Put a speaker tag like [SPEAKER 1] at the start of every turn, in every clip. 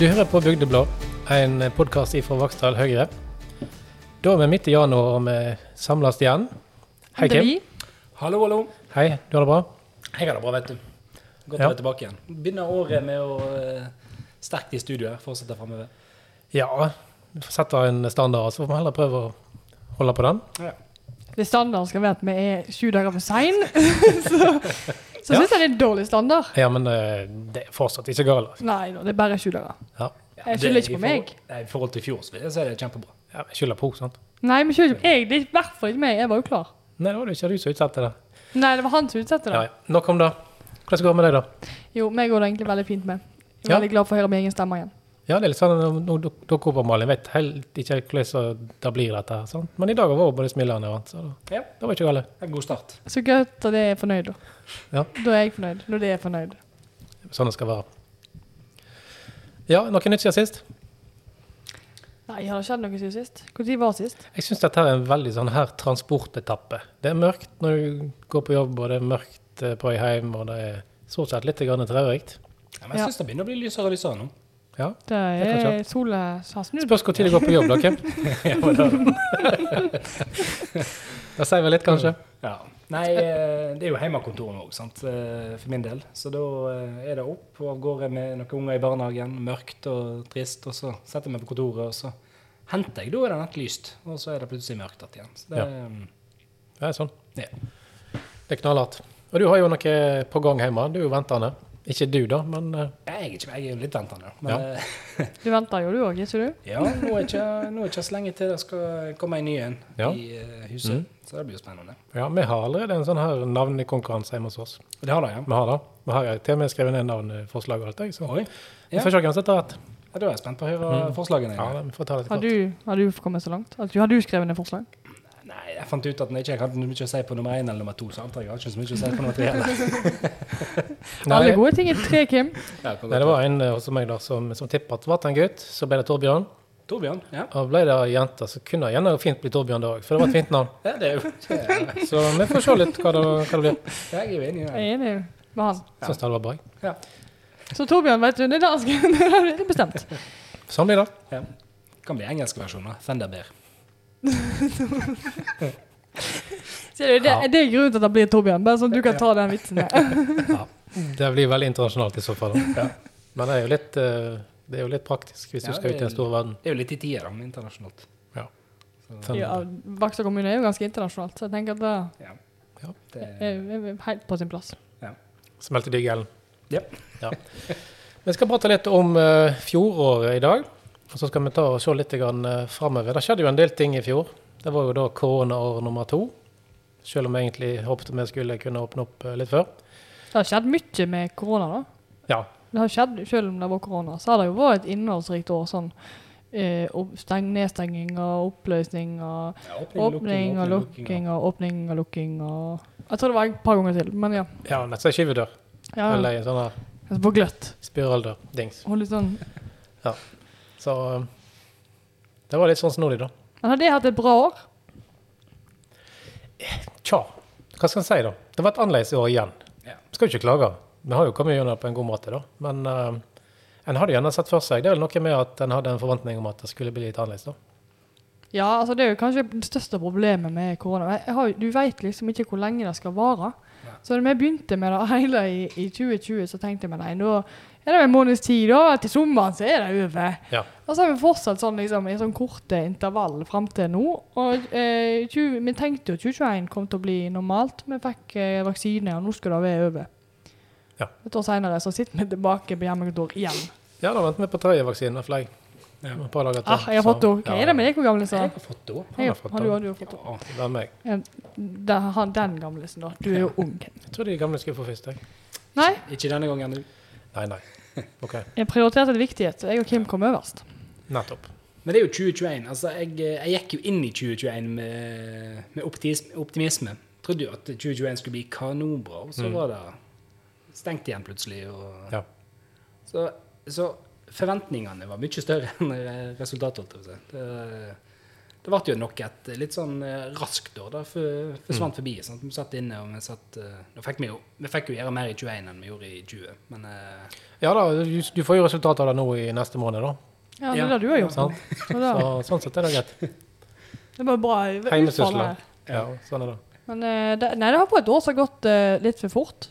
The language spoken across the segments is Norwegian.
[SPEAKER 1] Du hører på Bygdeblad, en podkast fra Vaksdal Høyre. Da er vi midt i januar og vi samles igjen. Hei, Kim.
[SPEAKER 2] Endelig.
[SPEAKER 3] Hallo, hallo.
[SPEAKER 1] Hei, du har det bra?
[SPEAKER 3] Jeg har det bra, vet du. Godt å
[SPEAKER 1] Ja.
[SPEAKER 3] være tilbake igjen. Begynner året med å eh, sterkt i studio her. Fortsette framover.
[SPEAKER 1] Ja. Vi får sette en standard, så får vi heller prøve å holde på den.
[SPEAKER 2] Hvis standarden skal være at vi er sju dager for sein, så, så syns jeg det er en dårlig standard.
[SPEAKER 1] Ja, men eh, det er fortsatt ikke galt. altså.
[SPEAKER 2] Nei da, det er bare sju dager.
[SPEAKER 1] Ja.
[SPEAKER 3] Ja,
[SPEAKER 2] Jeg
[SPEAKER 3] det-
[SPEAKER 2] skylder ikke
[SPEAKER 3] i
[SPEAKER 2] på
[SPEAKER 3] forhold-
[SPEAKER 2] meg.
[SPEAKER 3] Nei, I forhold til i fjor så vil jeg si det er kjempebra.
[SPEAKER 1] ja, vi skylder på henne, sant?
[SPEAKER 2] Nei, men kjører ikke jeg. Det er i hvert fall ikke meg. Jeg var jo klar.
[SPEAKER 1] Nei, det var det ikke du som utsatte det.
[SPEAKER 2] Nei, det var han som utsatte
[SPEAKER 1] Ja,
[SPEAKER 2] det.
[SPEAKER 1] ja. Nok om det. Hvordan går det med deg, da?
[SPEAKER 2] Jo, meg går det egentlig veldig fint med. Jeg er
[SPEAKER 1] Ja.
[SPEAKER 2] Veldig glad for å høre min egen stemme igjen.
[SPEAKER 1] Ja, det er litt sånn når- når duk- dukker opp av Malin. Vet helt ikke hvordan det blir, dette her. sant? Men i dag har vært både smilende og annet, så
[SPEAKER 3] Ja.
[SPEAKER 1] det var ikke galt.
[SPEAKER 3] En god start.
[SPEAKER 2] Så godt at jeg er fornøyd, da.
[SPEAKER 1] Ja.
[SPEAKER 2] Da er jeg fornøyd. Når det er fornøyd.
[SPEAKER 1] Sånn det skal være. Ja, noe nytt siden sist?
[SPEAKER 2] Nei, har det skjedd noe siden sist? Når var sist?
[SPEAKER 1] Jeg syns dette er en veldig sånn her transportetappe. Det er mørkt når du går på jobb, og det er mørkt eh, på vei hjem, og det er stort sett litt grann traurikt.
[SPEAKER 3] Ja, men jeg
[SPEAKER 2] Ja.
[SPEAKER 3] syns det begynner å bli lysere og lysere nå.
[SPEAKER 1] Ja.
[SPEAKER 2] Det
[SPEAKER 1] Det kan
[SPEAKER 2] er sola har snudd.
[SPEAKER 1] Spørs når du går på jobb, da, Kim. det sier vel litt, kanskje.
[SPEAKER 3] Ja. Nei, eh, det er jo hjemmekontorene òg, sant. eh, For min del. Så da eh, er det opp og av gårde med noen unger i barnehagen. Mørkt og trist. Og så setter jeg meg på kontoret, og så henter jeg. Da er det nettlyst. Og så er det plutselig mørkt igjen. Så det, eh,
[SPEAKER 1] Det er sånn.
[SPEAKER 3] Ja.
[SPEAKER 1] Det er knallhardt. Og du har jo noe på gang hjemme. Du er jo ventende. Ikke du, da, men eh,
[SPEAKER 3] Jeg er ikke Jeg er jo litt ventende. Men
[SPEAKER 1] Ja.
[SPEAKER 3] eh,
[SPEAKER 2] Du venter jo, du òg, ikke du?
[SPEAKER 3] Ja, nå er ikke, nå er ikke så lenge til det skal komme en ny en
[SPEAKER 1] Ja.
[SPEAKER 3] i eh, huset. Så det blir jo spennende.
[SPEAKER 1] ja, vi har allerede en sånn her navnekonkurranse hjemme hos oss.
[SPEAKER 3] Det har det, ja.
[SPEAKER 1] Vi har det. Vi har til og med skrevet ned navneforslag og alt, jeg, så
[SPEAKER 3] Oi.
[SPEAKER 1] vi får se hvem som tar rett.
[SPEAKER 3] Ja, da er jeg spent på å høre forslagene
[SPEAKER 1] Ja,
[SPEAKER 3] dine.
[SPEAKER 1] vi får ta det
[SPEAKER 2] Har
[SPEAKER 1] kort.
[SPEAKER 2] du, har du kommet så langt? Altså, Har du skrevet ned forslag?
[SPEAKER 3] Nei, jeg fant ut at jeg ikke hadde mye å si på nummer én eller nummer to. Så antar jeg jeg har ikke så mye å si på nummer tre heller.
[SPEAKER 2] Alle gode ting er tre, Kim.
[SPEAKER 3] Ja, kan
[SPEAKER 1] Nei,
[SPEAKER 3] godt
[SPEAKER 1] det var en eh, hos meg da som, som tippa at det ble en gutt. Så ble det Torbjørn.
[SPEAKER 3] være. Torbjørn. Ja.
[SPEAKER 1] Og ble det ei jente, så kunne det gjerne fint bli Torbjørn det òg, for det var et fint navn.
[SPEAKER 3] ja, det er jo Jeg
[SPEAKER 1] Så vi får se litt hva det, hva det blir.
[SPEAKER 3] er jo enig i
[SPEAKER 2] Jeg
[SPEAKER 3] det.
[SPEAKER 2] er enig med han.
[SPEAKER 1] Syns det var bra. jeg.
[SPEAKER 3] Ja.
[SPEAKER 2] Så Torbjørn, vet du, det er dansk. det er bestemt.
[SPEAKER 1] Sånn blir det.
[SPEAKER 3] Ja. Kan bli engelske versjoner. Thunderbear.
[SPEAKER 2] Ser du, det, det er grunnen til at det blir Torbjørn. Bare sånn at du kan ta den vitsen der.
[SPEAKER 1] Det blir veldig internasjonalt i så fall. da. Men det er jo litt, eh, det er jo litt praktisk hvis
[SPEAKER 3] Ja,
[SPEAKER 1] du skal ut i den store verden.
[SPEAKER 3] Det er jo litt i tida, da, internasjonalt.
[SPEAKER 1] Sånn.
[SPEAKER 2] Ja, Vaksdal kommune er jo ganske internasjonalt, så jeg tenker at det
[SPEAKER 3] Ja.
[SPEAKER 1] Ja.
[SPEAKER 3] Det,
[SPEAKER 2] er er helt på sin plass.
[SPEAKER 1] Smeltedigg Ellen.
[SPEAKER 3] Ja.
[SPEAKER 1] Ja. Vi skal prate litt om eh, fjoråret i dag. Og så skal vi ta og se litt uh, framover. Det skjedde jo en del ting i fjor. Det var jo da koronaår nummer to. Selv om vi egentlig håpet vi skulle kunne åpne opp eh, litt før.
[SPEAKER 2] Det har skjedd mye med korona, da.
[SPEAKER 1] Ja.
[SPEAKER 2] Det har skjedd, Selv om det var korona, så har det jo vært et innholdsrikt år. sånn eh, opp- steng, Nedstenging og oppløsning og
[SPEAKER 3] ja,
[SPEAKER 2] åpning og lukking og åpning og lukking og Jeg tror det var et par ganger til, men ja.
[SPEAKER 1] ja Nesten ei skyvedør.
[SPEAKER 2] ja ja.
[SPEAKER 1] Eller ei sånn her
[SPEAKER 2] Altså på gløtt.
[SPEAKER 1] spiraldør. Dings.
[SPEAKER 2] Og litt sånn
[SPEAKER 1] Så eh, det var litt sånn snodig, da.
[SPEAKER 2] Men hadde jeg hatt et bra år?
[SPEAKER 1] Tja. Hva skal en si, da? Det var et annerledes år igjen.
[SPEAKER 3] Ja.
[SPEAKER 1] Skal jo ikke klage. Vi har jo kommet gjennom det på en god måte, da. Men eh, en hadde gjerne sett for seg Det er vel noe med at en hadde en forventning om at det skulle bli litt annerledes, da.
[SPEAKER 2] Ja, altså det er jo kanskje det største problemet med korona. Jeg- Jeg har, jo- du vet liksom ikke hvor lenge det skal vare. Så da vi begynte med det hele i, i 2020, så tenkte vi nei, nå er det vel en måneds tid, da. Til sommeren så er det over.
[SPEAKER 1] Ja.
[SPEAKER 2] Og så har vi fortsatt sånn liksom, i sånn korte intervall fram til nå. Og eh, 20, Vi tenkte jo 2021 kom til å bli normalt. Vi fikk eh, vaksine, og nå skal det være over.
[SPEAKER 1] Ja.
[SPEAKER 2] Et år seinere så sitter vi tilbake på hjemmekontor igjen.
[SPEAKER 1] Ja, da venter vi på tredje vaksine. For jeg,
[SPEAKER 3] Ja.
[SPEAKER 1] et par dager til.
[SPEAKER 2] Ah, jeg har fått
[SPEAKER 1] så-
[SPEAKER 2] henne. Hva er det med deg, hvor gammel er
[SPEAKER 3] Jeg
[SPEAKER 2] du?
[SPEAKER 3] har fått det òg.
[SPEAKER 1] sånn. Han har fått
[SPEAKER 2] Har du,
[SPEAKER 1] den.
[SPEAKER 2] har du fått henne?
[SPEAKER 3] Ja.
[SPEAKER 1] Ja, det er meg.
[SPEAKER 2] Da- Han den gamlesen, da. Du er jo ung.
[SPEAKER 1] Jeg tror de gamle skulle få først. Jeg.
[SPEAKER 2] Nei,
[SPEAKER 3] Ikke denne gangen, du.
[SPEAKER 1] Nei, nei. OK.
[SPEAKER 2] jeg prioriterte det viktighet. Jeg og Kim kom øverst.
[SPEAKER 1] Nettopp.
[SPEAKER 3] Men det er jo 2021. altså Jeg, jeg gikk jo inn i 2021 med, med optimisme, optimisme. Trodde jo at 2021 skulle bli kanonbra, og så
[SPEAKER 1] Mm.
[SPEAKER 3] var det stengt igjen plutselig. Og,
[SPEAKER 1] Ja.
[SPEAKER 3] så, så forventningene var mye større enn resultatet. holdt jeg på å si. Det, det ble jo nok et litt sånn eh, raskt år. Det
[SPEAKER 1] Mm.
[SPEAKER 3] forsvant forbi. Sant? Vi satt inne, og vi satt eh, Nå fikk vi jo Vi fikk jo gjøre mer i 21 enn vi gjorde i 20, men eh,
[SPEAKER 1] Ja da, du, du får jo resultatet av det nå i neste måned, da.
[SPEAKER 2] Ja, det
[SPEAKER 3] Ja.
[SPEAKER 2] er det du har gjort.
[SPEAKER 1] Sant?
[SPEAKER 2] Så da,
[SPEAKER 1] Så, sånn sett er det greit.
[SPEAKER 2] det var bra. utfall
[SPEAKER 1] Heimesysler.
[SPEAKER 2] her.
[SPEAKER 1] Ja, sånn er det.
[SPEAKER 2] Men eh, det, nei, det har på et år så gått eh, litt for fort.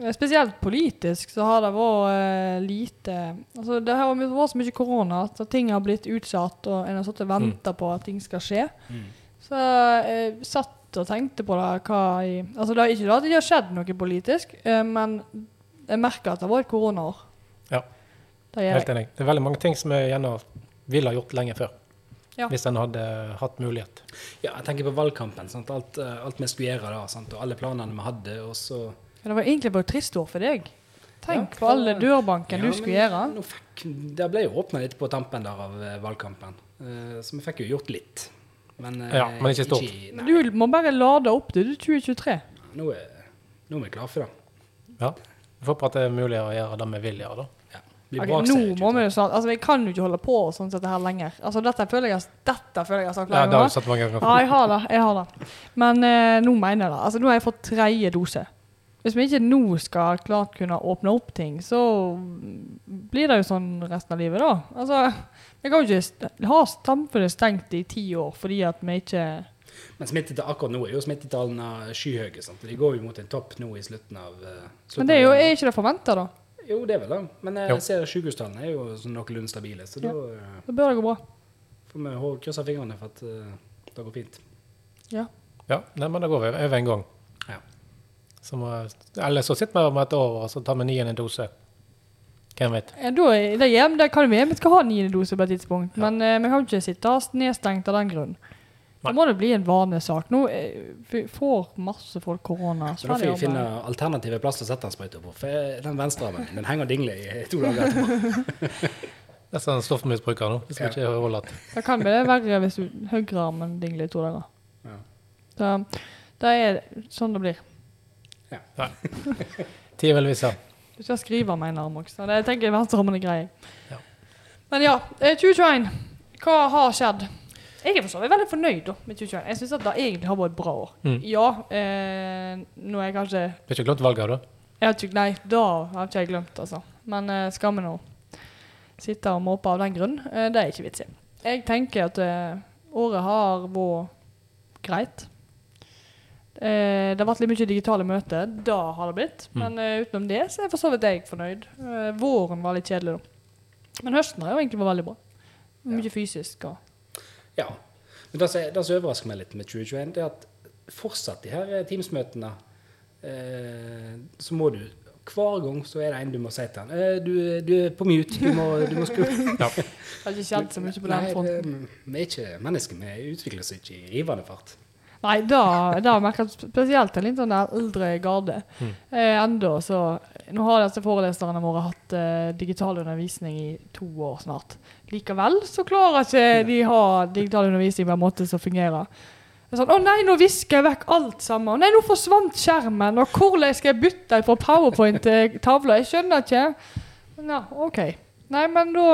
[SPEAKER 2] Eh, Spesielt politisk så har det vært eh, lite altså Det har my- vært så mye korona at ting har blitt utsatt, og en har sittet og venta på at ting skal skje.
[SPEAKER 3] Mm.
[SPEAKER 2] Så jeg satt og tenkte på det hva i Altså det er ikke det at det ikke har skjedd noe politisk, eh, men jeg merker at det har vært et koronaår.
[SPEAKER 1] Ja.
[SPEAKER 2] Det gjør jeg.
[SPEAKER 1] Helt enig. Det er veldig mange ting som jeg gjerne ville ha gjort lenge før.
[SPEAKER 2] Ja.
[SPEAKER 1] Hvis en hadde hatt mulighet.
[SPEAKER 3] Ja, jeg tenker på valgkampen. Sant? Alt, eh, alt vi skulle gjøre da, sant? og alle planene vi hadde. Og så
[SPEAKER 2] Men det var egentlig bare et trist år for deg. Tenk
[SPEAKER 3] Ja,
[SPEAKER 2] på alle
[SPEAKER 3] for-
[SPEAKER 2] dørbanken
[SPEAKER 3] Ja,
[SPEAKER 2] du skulle
[SPEAKER 3] men
[SPEAKER 2] gjøre.
[SPEAKER 3] Nå fikk, det ble jo åpna litt på tampen der av eh, valgkampen, eh, så vi fikk jo gjort litt. Men, eh,
[SPEAKER 1] Ja, men ikke stort.
[SPEAKER 3] nei,
[SPEAKER 2] Du må bare lade opp, du. Det er 2023.
[SPEAKER 3] nå, er, nå er vi klare for det.
[SPEAKER 1] Ja. Vi får håpe at det er mulig å gjøre det vi vil gjøre, da.
[SPEAKER 3] Ja. Blir
[SPEAKER 2] Ok,
[SPEAKER 3] bra,
[SPEAKER 2] nå
[SPEAKER 3] sier jeg,
[SPEAKER 2] må vi jo snart Altså, vi kan jo ikke holde på sånn som dette her lenger. Altså, dette føler jeg Dette føler jeg har sagt
[SPEAKER 1] Ja,
[SPEAKER 2] lenge
[SPEAKER 1] det har
[SPEAKER 2] nå.
[SPEAKER 1] vi sett mange
[SPEAKER 2] Ja,
[SPEAKER 1] ganger.
[SPEAKER 2] jeg har det. Jeg har det. Men eh, nå mener jeg det. Altså, nå har jeg fått tredje dose. Hvis vi ikke nå skal klart kunne åpne opp ting, så blir det jo sånn resten av livet, da. Altså, vi kan jo ikke st ha samfunnet stengt i ti år fordi at vi ikke
[SPEAKER 3] Men smittetall, akkurat nå er jo smittetallene skyhøye. Sant? De går jo mot en topp nå i slutten av eh, slutten
[SPEAKER 2] Men det er jo
[SPEAKER 3] av
[SPEAKER 2] er ikke det forventa, da.
[SPEAKER 3] januar. Jo, det er vel det. Men eh,
[SPEAKER 1] Jo.
[SPEAKER 3] jeg ser sykehustallene er jo sånn noenlunde stabile, så
[SPEAKER 2] Ja.
[SPEAKER 3] da eh,
[SPEAKER 2] Da bør det gå bra.
[SPEAKER 3] får vi hå- krysse fingrene for at eh, det går fint.
[SPEAKER 2] Ja.
[SPEAKER 1] Ja, nei, men det går vi over en gang.
[SPEAKER 3] Ja.
[SPEAKER 1] Så må, eller så sitter vi om et år og så tar vi niende dose. Hvem vet.
[SPEAKER 2] Ja, da, er- det, er, det kan jo være vi skal ha niende dose på et tidspunkt, men eh, vi kan jo ikke sitte nedstengt av den grunn. Da
[SPEAKER 1] Nei.
[SPEAKER 2] må det bli en vanesak. Nå eh, f- får masse folk korona.
[SPEAKER 3] Så
[SPEAKER 2] ferdig
[SPEAKER 3] da får vi
[SPEAKER 2] arbeid.
[SPEAKER 3] finne alternative plasser å sette den sprøyta på. For eh, den venstre armen den henger og dingler i to dager. etterpå.
[SPEAKER 1] Det er sånn stoffmisbruker nå. Det skal ikke overlate.
[SPEAKER 2] Det kan bli verre hvis du høyrearmen dingler i to dager.
[SPEAKER 3] Ja.
[SPEAKER 2] Så, det er sånn det blir.
[SPEAKER 1] Tida vil vise.
[SPEAKER 2] Du skal skrive med en arm også. så Det, jeg tenker venstrearmen er grei.
[SPEAKER 1] Ja.
[SPEAKER 2] Men ja, eh, 2021. Hva har skjedd? Jeg er for så vidt veldig fornøyd da, med 2021. Jeg syns det egentlig har vært et bra år.
[SPEAKER 1] Mm.
[SPEAKER 2] Ja, eh, nå er jeg kanskje
[SPEAKER 1] Du har ikke glemt valget, har du?
[SPEAKER 2] Jeg har ikke, nei, da har ikke jeg glemt, altså. Men eh, skal vi nå sitte og måpe av den grunn? Eh, det er ikke vits i. Jeg tenker at eh, året har vært greit. Eh, det har vært litt mye digitale møter. Da har det blitt.
[SPEAKER 1] Mm.
[SPEAKER 2] Men eh, utenom det så er for så vidt jeg fornøyd. Eh, våren var litt kjedelig, da. Men høsten har jo egentlig vært veldig bra. Mye fysisk og
[SPEAKER 3] Ja. Men det som det som overrasker meg litt med 2021, det er at fortsatt de her eh, Teams-møtene, eh, så må du hver gang så er det en du må si til han eh, du, du er på mute, du må, du må skru
[SPEAKER 2] Det har ikke skjedd så mye på den
[SPEAKER 3] Nei,
[SPEAKER 2] fronten.
[SPEAKER 3] det- mm, Vi er ikke mennesker, vi utvikler oss ikke i rivende fart.
[SPEAKER 2] Nei, da, da merker jeg spesielt en litt sånn der eldre garde. Eh, enda så Nå har disse foreleserne våre hatt eh, digital undervisning i to år snart. Likevel så klarer ikke de ha digital undervisning på en måte som fungerer. Det er sånn, Å nei, nå visker jeg vekk alt sammen. Å nei, nå forsvant skjermen. Og hvordan skal jeg bytte fra powerpoint til tavle? Jeg skjønner ikke. Ja, OK. Nei, men da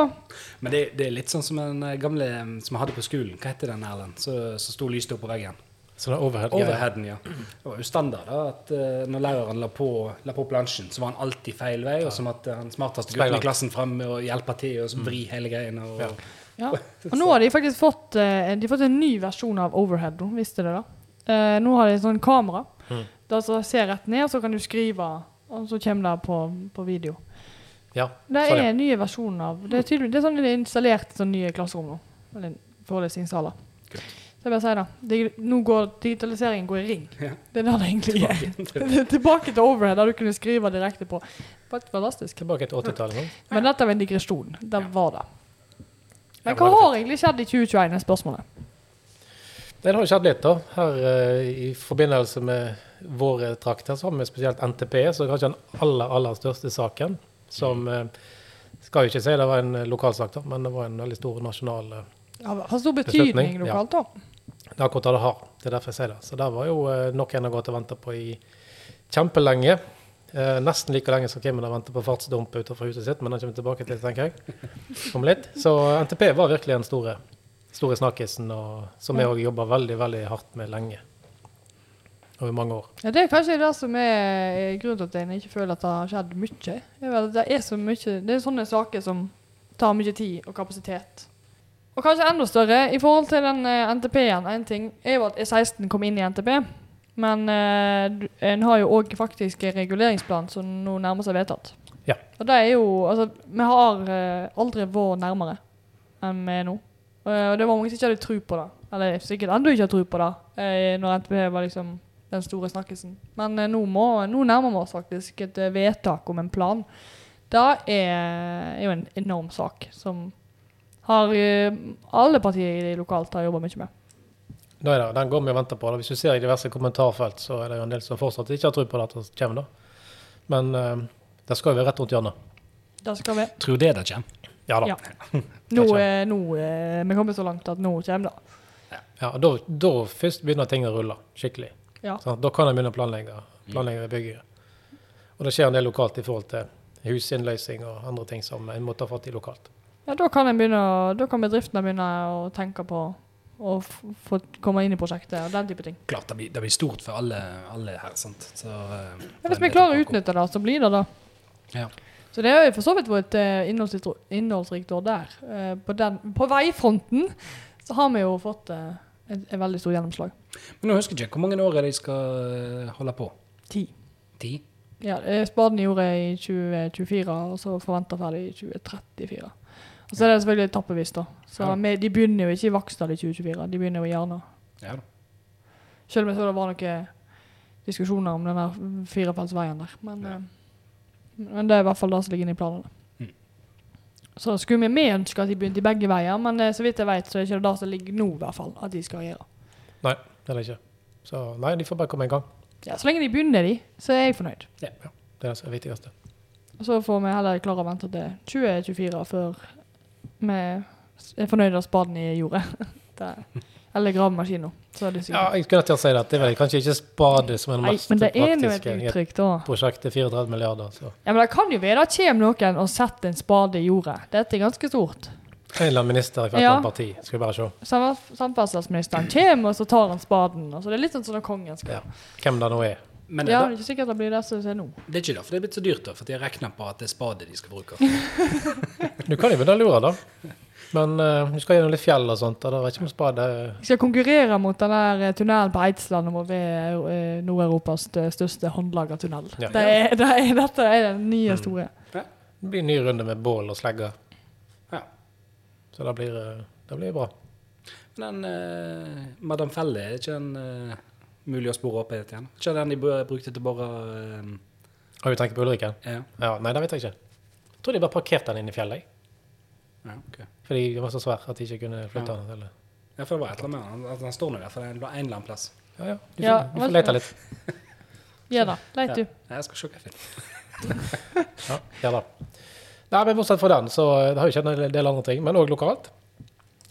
[SPEAKER 3] Men det, det er litt sånn som den eh, gamle eh, som vi hadde på skolen. Hva heter den, Erlend? Så, så sto lyset opp på veggen.
[SPEAKER 1] Sånn overhead-greie.
[SPEAKER 3] Overheaden, ja. Det var jo standard da, at eh, når læreren la på, la på plansjen, så var han alltid feil vei, og som at eh, han smarteste gutten
[SPEAKER 1] Speilvendt.
[SPEAKER 3] i klassen fremme og hjelper til og så vri hele greiene. Og,
[SPEAKER 1] Ja.
[SPEAKER 2] Ja. Og nå har de faktisk fått, eh, de har fått en ny versjon av Overhead. nå, Visste dere det? Eh, nå har de et sånt kamera
[SPEAKER 1] Mm.
[SPEAKER 2] der som ser rett ned, og så kan du skrive, og så kommer det på, på video.
[SPEAKER 1] Ja.
[SPEAKER 2] Det
[SPEAKER 1] Sånn,
[SPEAKER 2] er
[SPEAKER 1] ja.
[SPEAKER 2] en ny versjon av Det er, tydelig, det er sånn det er installert i sånne nye klasserom nå. Eller forelesningssaler.
[SPEAKER 3] Kult.
[SPEAKER 2] Så jeg bare sier det. Digi- nå går digitaliseringen går i ring.
[SPEAKER 3] Ja.
[SPEAKER 2] Det er det det egentlig er.
[SPEAKER 3] Ja.
[SPEAKER 2] Det er Tilbake til Overhead, der du kunne skrive direkte på. Faktisk fantastisk.
[SPEAKER 1] Tilbake til 80-tallet. sånn.
[SPEAKER 2] Men dette var en digresjon. Det
[SPEAKER 3] Ja.
[SPEAKER 2] var det.
[SPEAKER 1] Ja,
[SPEAKER 2] Men
[SPEAKER 1] men
[SPEAKER 2] hva
[SPEAKER 1] det er
[SPEAKER 2] har egentlig skjedd i 2021, er spørsmålet.
[SPEAKER 1] Nei, Det har jo skjedd litt, da. Her eh, I forbindelse med våre trakter, så har vi spesielt NTP, som er kanskje den aller, aller største saken. Som eh, Skal jo ikke si det var en eh, lokalsak, da, men det var en veldig stor nasjonal eh,
[SPEAKER 2] Ja, det har stor
[SPEAKER 1] Beslutning,
[SPEAKER 2] betydning
[SPEAKER 1] ja.
[SPEAKER 2] lokalt, da.
[SPEAKER 1] Det er akkurat det det har. Det er derfor jeg sier det. Så det var jo eh, noe en har gått og venta på i kjempelenge. Eh, nesten like lenge som Kimmen har venta på fartsdump utenfor huset sitt, men den kommer vi tilbake til, tenker jeg. Om litt. Så eh, NTP var virkelig en stor store snakkisen, og, som
[SPEAKER 2] Ja.
[SPEAKER 1] jeg òg jobba veldig veldig hardt med lenge. Over mange år.
[SPEAKER 2] Ja, det er kanskje det som er grunnen til at en ikke føler at det har skjedd mye. Er vel at Det er så mye Det er sånne saker som tar mye tid og kapasitet. Og kanskje enda større i forhold til den eh, NTP-en. En ting er jo at E16 kom inn i NTP, men eh, du- en har jo òg faktisk en reguleringsplan som nå nærmer seg vedtatt.
[SPEAKER 1] Ja.
[SPEAKER 2] Og det er jo Altså, vi har eh, aldri vært nærmere enn vi er nå. Eh, Og det var mange som ikke hadde tro på det. Eller sikkert ennå ikke har tro på det, eh, når NTP var liksom den store snakkelsen. Men eh, nå, må, nå nærmer vi oss faktisk et eh, vedtak om en plan. Det er, er jo en enorm sak som har eh, alle partier i det lokalt har jobba mye med.
[SPEAKER 1] Da er det, den går vi og venter på. da. Hvis du ser i diverse kommentarfelt, så er det jo en del som fortsatt ikke har tro på det at det kommer. da. Men eh, det skal jo være rett rundt hjørnet.
[SPEAKER 2] Det skal vi.
[SPEAKER 4] Tror det det kommer.
[SPEAKER 1] Ja da.
[SPEAKER 2] Ja. Nå,
[SPEAKER 1] Det
[SPEAKER 2] eh, nå, eh, vi kommer så langt at nå kommer det.
[SPEAKER 1] Ja, og da, da først begynner ting å rulle skikkelig.
[SPEAKER 2] Ja.
[SPEAKER 1] Sant? da kan en begynne å planlegge, planlegge bygget. Og det skjer en del lokalt i forhold til husinnløsning og andre ting som en må ta fatt i lokalt.
[SPEAKER 2] Ja, da kan, en begynne, å- da kan bedriftene begynne å tenke på å f få komme inn i prosjektet og den type ting.
[SPEAKER 4] Klart, det blir, det blir stort for alle, alle her. sant? Så, eh,
[SPEAKER 2] Men hvis vi klarer å utnytte det, så blir det det.
[SPEAKER 4] Ja.
[SPEAKER 2] Så det har jo for så vidt vært et eh, innholdsrikt, innholdsrikt år der. Eh, på, den, på veifronten så har vi jo fått eh, et, et veldig stort gjennomslag.
[SPEAKER 4] Men nå husker jeg ikke hvor mange år er det de skal eh, holde på.
[SPEAKER 2] Ti.
[SPEAKER 4] Ti?
[SPEAKER 2] Ja, eh, spaden gjorde jeg i 2024, og så forventa ferdig i 2034. Og så er det selvfølgelig etappevis, da. Så
[SPEAKER 4] Ja.
[SPEAKER 2] vi, de begynner jo ikke i Vaksdal i 2024, de begynner jo i Jerna.
[SPEAKER 4] Ja da.
[SPEAKER 2] Selv om jeg så det var noen diskusjoner om denne firefeltsveien der. Men,
[SPEAKER 4] Ja.
[SPEAKER 2] eh, men det er i hvert fall det som ligger inne i planene.
[SPEAKER 4] Mm.
[SPEAKER 2] Så skulle vi med ønske at de begynte i begge veier, men eh, så vidt jeg vet, så er ikke det det som ligger nå, i hvert fall, at de skal gjøre.
[SPEAKER 1] Nei, det er det ikke. Så nei, de får bare komme i gang.
[SPEAKER 2] Ja, så lenge de begynner, de, så er jeg fornøyd.
[SPEAKER 1] Ja, ja. Det er det som er viktigste.
[SPEAKER 2] Og så får vi heller klare å vente til 2024 før vi er fornøyd av spaden i jordet. Det- Eller gravemaskinen. Så er det
[SPEAKER 1] Ja,
[SPEAKER 2] sikkert.
[SPEAKER 1] jeg kunne til å si det at det er vel kanskje ikke spade som er det
[SPEAKER 2] Nei,
[SPEAKER 1] mest
[SPEAKER 2] men det er nå et
[SPEAKER 1] praktiske i et
[SPEAKER 2] uttrykk, da.
[SPEAKER 1] prosjekt til 34 milliarder. Så
[SPEAKER 2] Ja, men Det kan jo være det kommer noen og setter en spade i jordet. Dette er ganske stort.
[SPEAKER 1] en eller annen minister i hvert
[SPEAKER 2] Ja.
[SPEAKER 1] annet parti. Skal vi bare se
[SPEAKER 2] Sam- Samferdselsministeren kommer, og så tar han spaden. Og så Det er litt sånn som når kongen skal.
[SPEAKER 1] Ja. hvem det nå er.
[SPEAKER 4] Men
[SPEAKER 2] Ja,
[SPEAKER 4] det,
[SPEAKER 2] det er ikke sikkert det blir det som er nå.
[SPEAKER 4] det er ikke det, for det er blitt så dyrt, da, for de har regna på at det er spade de skal bruke.
[SPEAKER 1] Du kan jo begynne å lure, da. Men eh, du skal gjennom litt fjell og sånt, og det er ikke med spade.
[SPEAKER 2] Vi skal konkurrere mot den der eh, tunnelen på Eidsland om å være eh, Nord-Europas stø- største håndlagertunnel.
[SPEAKER 1] Ja. Mm.
[SPEAKER 2] Det er, det er, dette er den nye store.
[SPEAKER 1] Det blir en ny runde med bål og slegger.
[SPEAKER 4] Ja.
[SPEAKER 1] Så det blir, eh, det blir bra.
[SPEAKER 4] Men den eh, Madame Felle er ikke den eh, mulig å spore opp igjen? Ikke den de br- brukte til å bore eh,
[SPEAKER 1] Har du tenkt på Ulriken?
[SPEAKER 4] Ja.
[SPEAKER 1] Ja, nei, det vet jeg ikke. Jeg tror de bare parkerte den inne i fjellet. jeg.
[SPEAKER 4] ja, ok.
[SPEAKER 1] Fordi den var så svær at de ikke kunne flytte
[SPEAKER 4] Ja.
[SPEAKER 1] den. Eller.
[SPEAKER 4] Ja, for det var et eller annet med den. Altså, den står nå der, for det er en en eller annen plass.
[SPEAKER 1] Ja, ja. Du får,
[SPEAKER 2] Ja,
[SPEAKER 1] du
[SPEAKER 2] men-
[SPEAKER 1] får lete litt.
[SPEAKER 2] Ja da, leit du.
[SPEAKER 4] Ja, jeg skal se hva jeg finner.
[SPEAKER 1] Ja, ja da. Nei, men Bortsett fra den, så eh, det har jo skjedd en del andre ting. Men òg lokalt.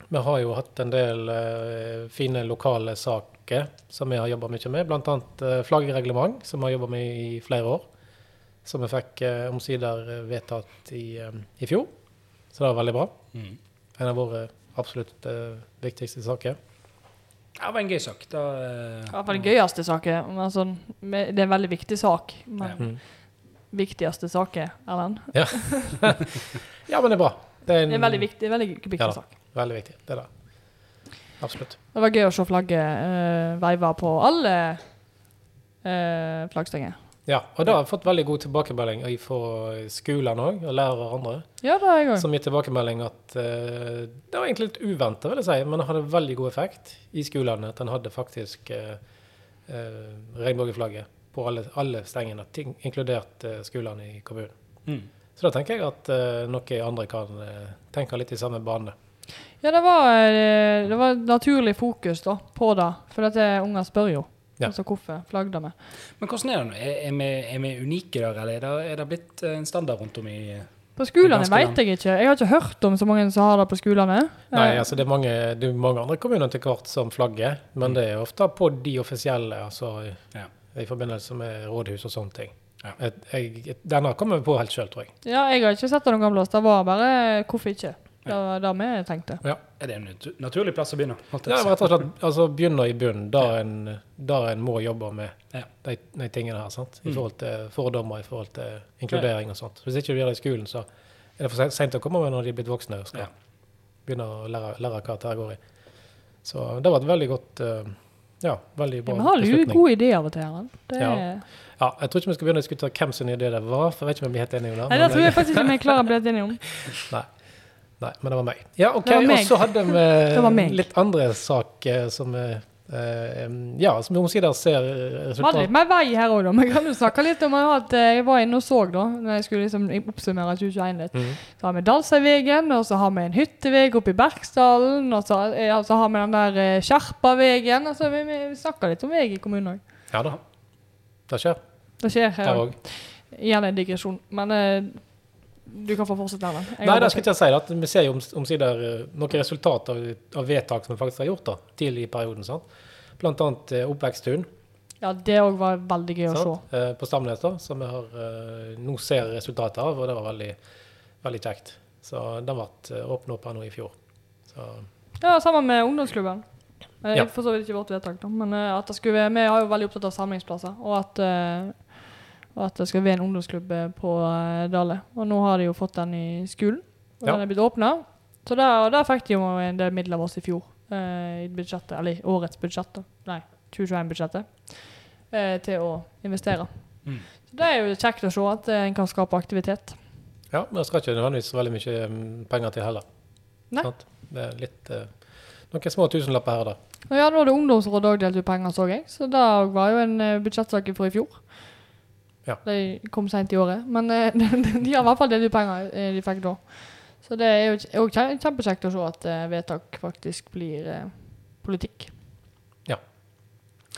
[SPEAKER 1] Vi har jo hatt en del eh, fine lokale saker som vi har jobba mye med. Bl.a. Uh, flaggreglement, som vi har jobba med i flere år. Som vi fikk eh, omsider eh, vedtatt i, eh, i fjor. Så det var veldig bra. En av våre absolutt eh, viktigste saker.
[SPEAKER 4] Ja, det var en gøy sak. Da, eh,
[SPEAKER 2] I hvert fall den gøyeste saken. Men sånn, med- det er en veldig viktig sak. Men
[SPEAKER 1] Mm.
[SPEAKER 2] viktigste saken, Erlend.
[SPEAKER 1] Ja, men det er bra. Det er en,
[SPEAKER 2] Det er en veldig viktig, veldig viktig
[SPEAKER 1] Ja da.
[SPEAKER 2] sak.
[SPEAKER 1] veldig viktig. Det er det. Absolutt.
[SPEAKER 2] Det var gøy å se flagget eh, veive på alle uh, flaggstenger.
[SPEAKER 1] Ja, og da har jeg fått veldig god tilbakemelding fra skolene òg, og lærere og andre,
[SPEAKER 2] Ja, det har jeg òg.
[SPEAKER 1] som gir tilbakemelding at eh, det var egentlig litt uventa, vil jeg si, men det hadde veldig god effekt i skolene at en hadde faktisk uh, regnbueflagget på alle, alle stengene, ting, inkludert eh, skolene i kommunen.
[SPEAKER 4] mm.
[SPEAKER 1] Så da tenker jeg at eh, noen andre kan eh, tenke litt i samme bane.
[SPEAKER 2] Ja, det var, eh, det var naturlig fokus da, på det. For at eh, unger spør jo.
[SPEAKER 1] Ja.
[SPEAKER 2] Altså hvorfor flagger vi?
[SPEAKER 4] Men hvordan er det nå? Er, er, vi, er vi unike der, eller er det, er det blitt eh, en standard rundt om i
[SPEAKER 2] På skolene
[SPEAKER 4] ganske
[SPEAKER 2] vet jeg ikke. Jeg har ikke hørt om så mange som har det på skolene.
[SPEAKER 1] Nei,
[SPEAKER 2] Eh,
[SPEAKER 1] altså det er mange, det er mange andre kommuner til hvert som flagger, men det er ofte på de offisielle, altså i,
[SPEAKER 4] Mm. Ja.
[SPEAKER 1] i forbindelse med rådhus og sånne ting.
[SPEAKER 4] Ja.
[SPEAKER 1] Et, jeg, et, denne kommer vi på helt sjøl, tror jeg.
[SPEAKER 2] Ja, jeg har ikke sett det noen gang plass. Det var bare eh, hvorfor ikke? Det var det vi tenkte.
[SPEAKER 4] Er det en natu- naturlig plass å begynne? holdt
[SPEAKER 1] Det
[SPEAKER 4] jeg
[SPEAKER 1] er
[SPEAKER 4] på å
[SPEAKER 1] rett og slett altså, begynne i bunnen, der en, der en må jobbe med
[SPEAKER 4] Ja.
[SPEAKER 1] de, de tingene her. sant? I
[SPEAKER 4] Mm.
[SPEAKER 1] forhold til fordommer, i forhold til inkludering og sånt. Hvis ikke du gjør det i skolen, så er det for seint å komme med når de er blitt voksne og skal
[SPEAKER 4] Ja.
[SPEAKER 1] begynne å lære, lære hva dette her går i. Så det var et veldig godt eh, Ja, veldig
[SPEAKER 2] Ja,
[SPEAKER 1] bra
[SPEAKER 2] vi har jo
[SPEAKER 1] beslutning.
[SPEAKER 2] gode ideer av og til. Erlend. Det
[SPEAKER 1] Ja.
[SPEAKER 2] er-
[SPEAKER 1] Ja, jeg tror ikke vi skal begynne å diskutere hvem sin idé det var, for jeg vet ikke om vi er helt enige om det.
[SPEAKER 2] Nei, det tror jeg faktisk ikke vi klarer å bli enige om.
[SPEAKER 1] eh, Nei, men det var meg. Ja, ok,
[SPEAKER 2] Det var meg.
[SPEAKER 1] Og så hadde
[SPEAKER 2] Det var
[SPEAKER 1] vi
[SPEAKER 2] meg.
[SPEAKER 1] litt andre saker som eh, eh, Ja, som vi omsider ser
[SPEAKER 2] Vi hadde
[SPEAKER 1] resultat
[SPEAKER 2] litt mer vei her òg, da. Vi kan jo snakke litt om at eh, jeg var inne og så, da. Når jeg skulle liksom oppsummere 2021 litt.
[SPEAKER 1] Mhm.
[SPEAKER 2] Så har vi Dalsøyvegen, og så har vi en hytteveg oppe i Berksdalen. Og så, ja, så har vi den der eh, Skjerpavegen. Altså, vi, vi snakker litt om vei i kommunen òg.
[SPEAKER 1] Ja da. Det skjer
[SPEAKER 2] Det skjer her
[SPEAKER 1] der
[SPEAKER 2] òg.
[SPEAKER 1] òg.
[SPEAKER 2] Igjen en digresjon. Men eh, du kan få fortsette, Erlend. Jeg
[SPEAKER 1] Nei,
[SPEAKER 2] har
[SPEAKER 1] det
[SPEAKER 2] bare
[SPEAKER 1] skal ikke jeg si. At vi ser jo oms- omsider eh, noen resultat av, av vedtak som vi faktisk har gjort da, tidlig i perioden. sant? Blant annet eh, Oppveksttun
[SPEAKER 2] tenkt- Ja, det òg var veldig gøy å se.
[SPEAKER 1] sant? Eh, på Stamnes, da, som vi har, eh, nå ser resultatet av. Og det var veldig, veldig kjekt. Så den ble åpna opp her nå i fjor. Så
[SPEAKER 2] Ja, sammen med ungdomsklubben. Eh,
[SPEAKER 1] Ja.
[SPEAKER 2] For så vidt ikke vårt vedtak, da. Men eh, at det skulle være, vi er jo veldig opptatt av samlingsplasser. Og at, eh, og at det skal være en ungdomsklubb eh, på eh, Dale. Og nå har de jo fått den i skolen. Og
[SPEAKER 1] Ja.
[SPEAKER 2] den er blitt åpna. Så der, og der fikk de jo en del midler av oss i fjor. eh, I budsjettet, eller i årets budsjett, da. Nei, 2021-budsjettet. eh, til å investere.
[SPEAKER 4] Mm.
[SPEAKER 2] Så det er jo kjekt å se at eh, en kan skape aktivitet.
[SPEAKER 1] Ja, men det skal ikke nødvendigvis veldig mye mm, penger til heller.
[SPEAKER 2] Nei.
[SPEAKER 1] Sant? Det er litt eh, noen små tusenlapper her og der.
[SPEAKER 2] Og ja, nå hadde Ungdomsrådet òg delt ut penger, så jeg. Så det var jo en eh, budsjettsak fra i fjor.
[SPEAKER 1] Ja.
[SPEAKER 2] De kom seint i året, men eh, de har i hvert fall delt ut penger eh, de fikk da. Så det er jo kje- er jo kje- kjempekjekt å se at eh, vedtak faktisk blir eh, politikk.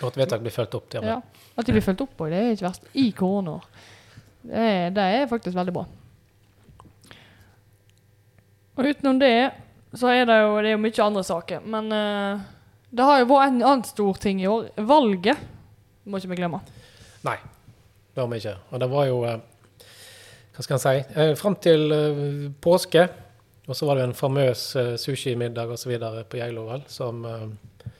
[SPEAKER 1] Og at vedtak blir fulgt opp. til og med.
[SPEAKER 2] Ja. At de blir fulgt opp, og det er ikke verst. I koronaår. Det, er- det er faktisk veldig bra. Og utenom det, så er det jo, det er jo mye andre saker. Men eh, det har jo vært en annen stor ting i år. Valget må ikke vi glemme.
[SPEAKER 1] Nei, det har vi ikke. Og det var jo eh, Hva skal en si? Eh, Fram til eh, påske, og så var det jo en famøs eh, sushimiddag osv. på Geilo, vel, som, eh,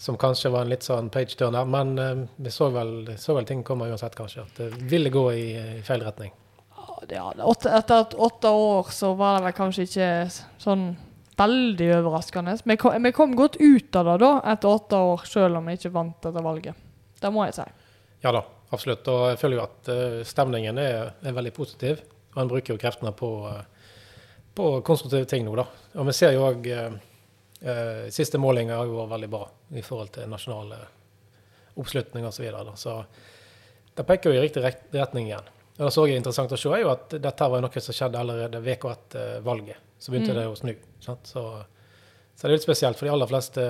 [SPEAKER 1] som kanskje var en litt sånn page turner. Men eh, vi så vel, så vel ting komme uansett, kanskje. At det ville gå i, eh, i feil retning.
[SPEAKER 2] Ja, det- Ja, det- åtte, etter at åtte år så var det vel kanskje ikke s- sånn veldig overraskende. Vi kom, vi kom godt ut av det da, etter åtte år, selv om vi ikke vant dette valget. Det må jeg si.
[SPEAKER 1] Ja da, absolutt. Og jeg føler jo at eh, stemningen er, er veldig positiv. Og en bruker jo kreftene på, eh, på konstruktive ting nå, da. Og vi ser jo òg Siste målinger har jo vært veldig bra i forhold til nasjonale oppslutninger osv. Så, videre, da. så det peker jo i riktig rekt- retning igjen. Og det som også er interessant å se, er jo at dette var jo noe som skjedde allerede uka etter valget. Så begynte
[SPEAKER 2] Mm.
[SPEAKER 1] det å snu. Sant? Så, så det er litt spesielt, for de aller fleste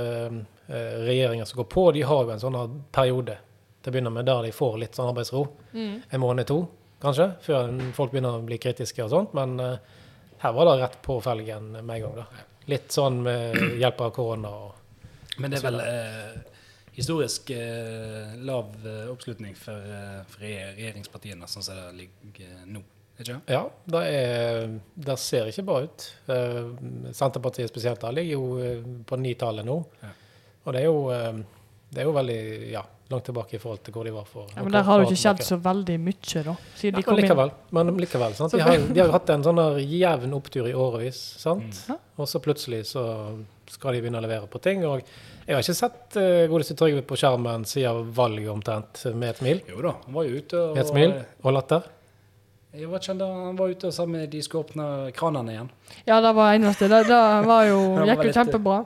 [SPEAKER 1] eh, regjeringer som går på, de har jo en sånn her periode til å begynne med, der de får litt sånn arbeidsro.
[SPEAKER 2] Mm.
[SPEAKER 1] En måned, to, kanskje, før en- folk begynner å bli kritiske og sånt. Men eh, her var det rett på felgen med en gang. da. Litt sånn med hjelp av korona og
[SPEAKER 4] si. Men det er vel eh, historisk eh, lav eh, oppslutning for, eh, for re- regjeringspartiene, sånn som det ligger eh, nå. Ikke? sant?
[SPEAKER 1] Ja, det, er, det ser ikke bra ut. Eh, Senterpartiet spesielt der ligger jo eh, på nitallet nå.
[SPEAKER 4] Ja.
[SPEAKER 1] Og det er jo, eh, det er jo veldig ja, langt tilbake i forhold til hvor de var for
[SPEAKER 2] Ja, men der har det jo ikke skjedd så veldig mye, da. Siden
[SPEAKER 1] Ja,
[SPEAKER 2] de kom
[SPEAKER 1] men
[SPEAKER 2] inn.
[SPEAKER 1] likevel. Men likevel sant? De, har, jo- de har jo hatt en sånn der jevn opptur i årevis. sant?
[SPEAKER 2] Ja.
[SPEAKER 1] Og så plutselig så skal de begynne å levere på ting. Og jeg har ikke sett eh, godeste Trygve på skjermen siden valget omtrent, med et smil.
[SPEAKER 4] Jo da, han var jo ute og
[SPEAKER 1] Med et smil og latter.
[SPEAKER 4] Jeg var ikke, da, han var ute og sa med de skulle åpne kranene igjen.
[SPEAKER 2] Ja, det var eneste. Det, det var jo,
[SPEAKER 4] Det var
[SPEAKER 2] gikk jo
[SPEAKER 4] litt-
[SPEAKER 2] kjempebra.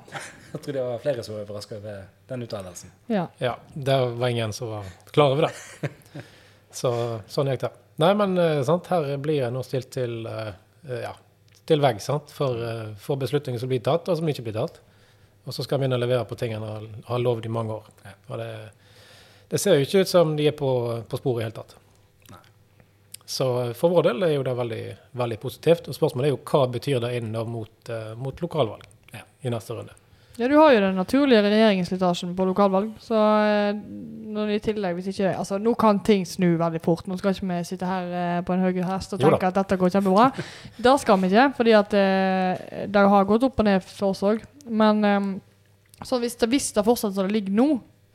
[SPEAKER 4] Jeg tror det var flere som var overraska over den uttalelsen.
[SPEAKER 2] Ja.
[SPEAKER 1] Ja, det var ingen som var klar over det. Så sånn gikk det. Nei, men eh, sant, her blir jeg nå stilt til eh, ja, til vegg sant, for, eh, for beslutninger som blir tatt, og som ikke blir tatt. Og så skal vi inn og levere på ting en har, har lovd i mange år.
[SPEAKER 4] Ja.
[SPEAKER 1] Og det, det ser jo ikke ut som de er på, på sporet i det hele tatt.
[SPEAKER 4] Nei.
[SPEAKER 1] Så eh, for vår del er jo det veldig, veldig positivt. Og spørsmålet er jo hva betyr det inn da mot, eh, mot lokalvalg
[SPEAKER 4] Ja.
[SPEAKER 1] i neste runde.
[SPEAKER 2] Ja, du har jo den naturlige regjeringsslitasjen på lokalvalg. Så eh, når det i tillegg, hvis ikke det Altså, nå kan ting snu veldig fort. Nå skal ikke vi sitte her eh, på en høy hest og
[SPEAKER 1] Jo da.
[SPEAKER 2] tenke at dette går kjempebra. Det skal vi ikke, fordi at eh, det har gått opp og ned for oss òg. Men eh, så hvis det, hvis det fortsetter som det ligger nå,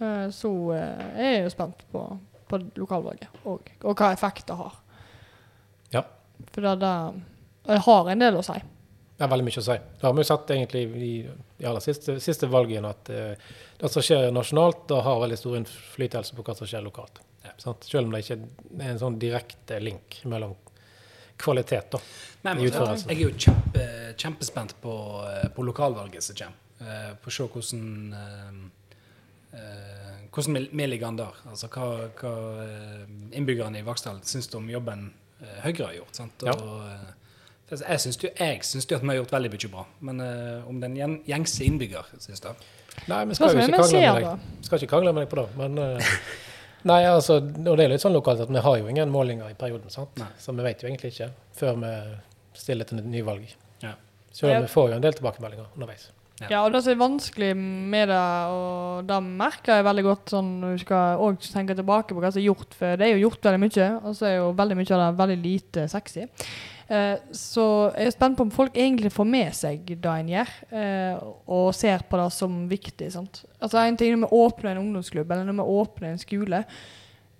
[SPEAKER 2] eh, så eh, er jeg jo spent på, på lokalvalget og, og hva effekt det har.
[SPEAKER 1] Ja.
[SPEAKER 2] For det, det, det har en del å si.
[SPEAKER 1] Det er veldig mye å si. Det har vi jo sett egentlig i de aller siste, siste valgene, at eh, det som skjer nasjonalt, da har veldig stor innflytelse på hva som skjer lokalt. Sant? Selv om det ikke er en sånn direkte link mellom kvalitet, da.
[SPEAKER 3] Nei,
[SPEAKER 1] I
[SPEAKER 3] men,
[SPEAKER 1] utførelsen.
[SPEAKER 3] jeg er jo kjempe, kjempespent på, eh, på lokalvalget som kommer. Eh, På å se hvordan eh, eh, hvordan vi- vi ligger an der. Altså hva, hva eh, innbyggerne i Vaksdal syns om jobben eh, Høyre har gjort. Sant?
[SPEAKER 1] Ja.
[SPEAKER 3] Og, eh, for jeg syns jo, jeg syns jo at vi har gjort veldig mye bra, men eh, om den gjeng- gjengse innbygger syns det
[SPEAKER 1] Nei, vi
[SPEAKER 2] Hva
[SPEAKER 1] skal
[SPEAKER 2] som
[SPEAKER 1] jo
[SPEAKER 2] er
[SPEAKER 1] ikke
[SPEAKER 2] med
[SPEAKER 1] krangle
[SPEAKER 2] skjer
[SPEAKER 1] med
[SPEAKER 2] da?
[SPEAKER 1] deg. Skal ikke krangle med deg på det, men eh, Nei, altså, og det er litt sånn lokalt at vi har jo ingen målinger i perioden, sant?
[SPEAKER 3] Nei.
[SPEAKER 1] så vi vet jo egentlig ikke før vi stiller til et nyvalg.
[SPEAKER 3] Ja.
[SPEAKER 1] Selv
[SPEAKER 2] Ja.
[SPEAKER 1] om vi får jo en del tilbakemeldinger underveis.
[SPEAKER 3] Ja.
[SPEAKER 2] Ja, og det som er vanskelig med det, og det merker jeg veldig godt sånn, når du skal også tenke tilbake på hva som er gjort før. Det er jo gjort veldig mye, og så er jo veldig mye av det veldig lite sexy. Eh, så jeg er spent på om folk egentlig får med seg det en gjør, eh, og ser på det som viktig. Sant? Altså En ting er når vi åpner en ungdomsklubb, eller når vi åpner en skole,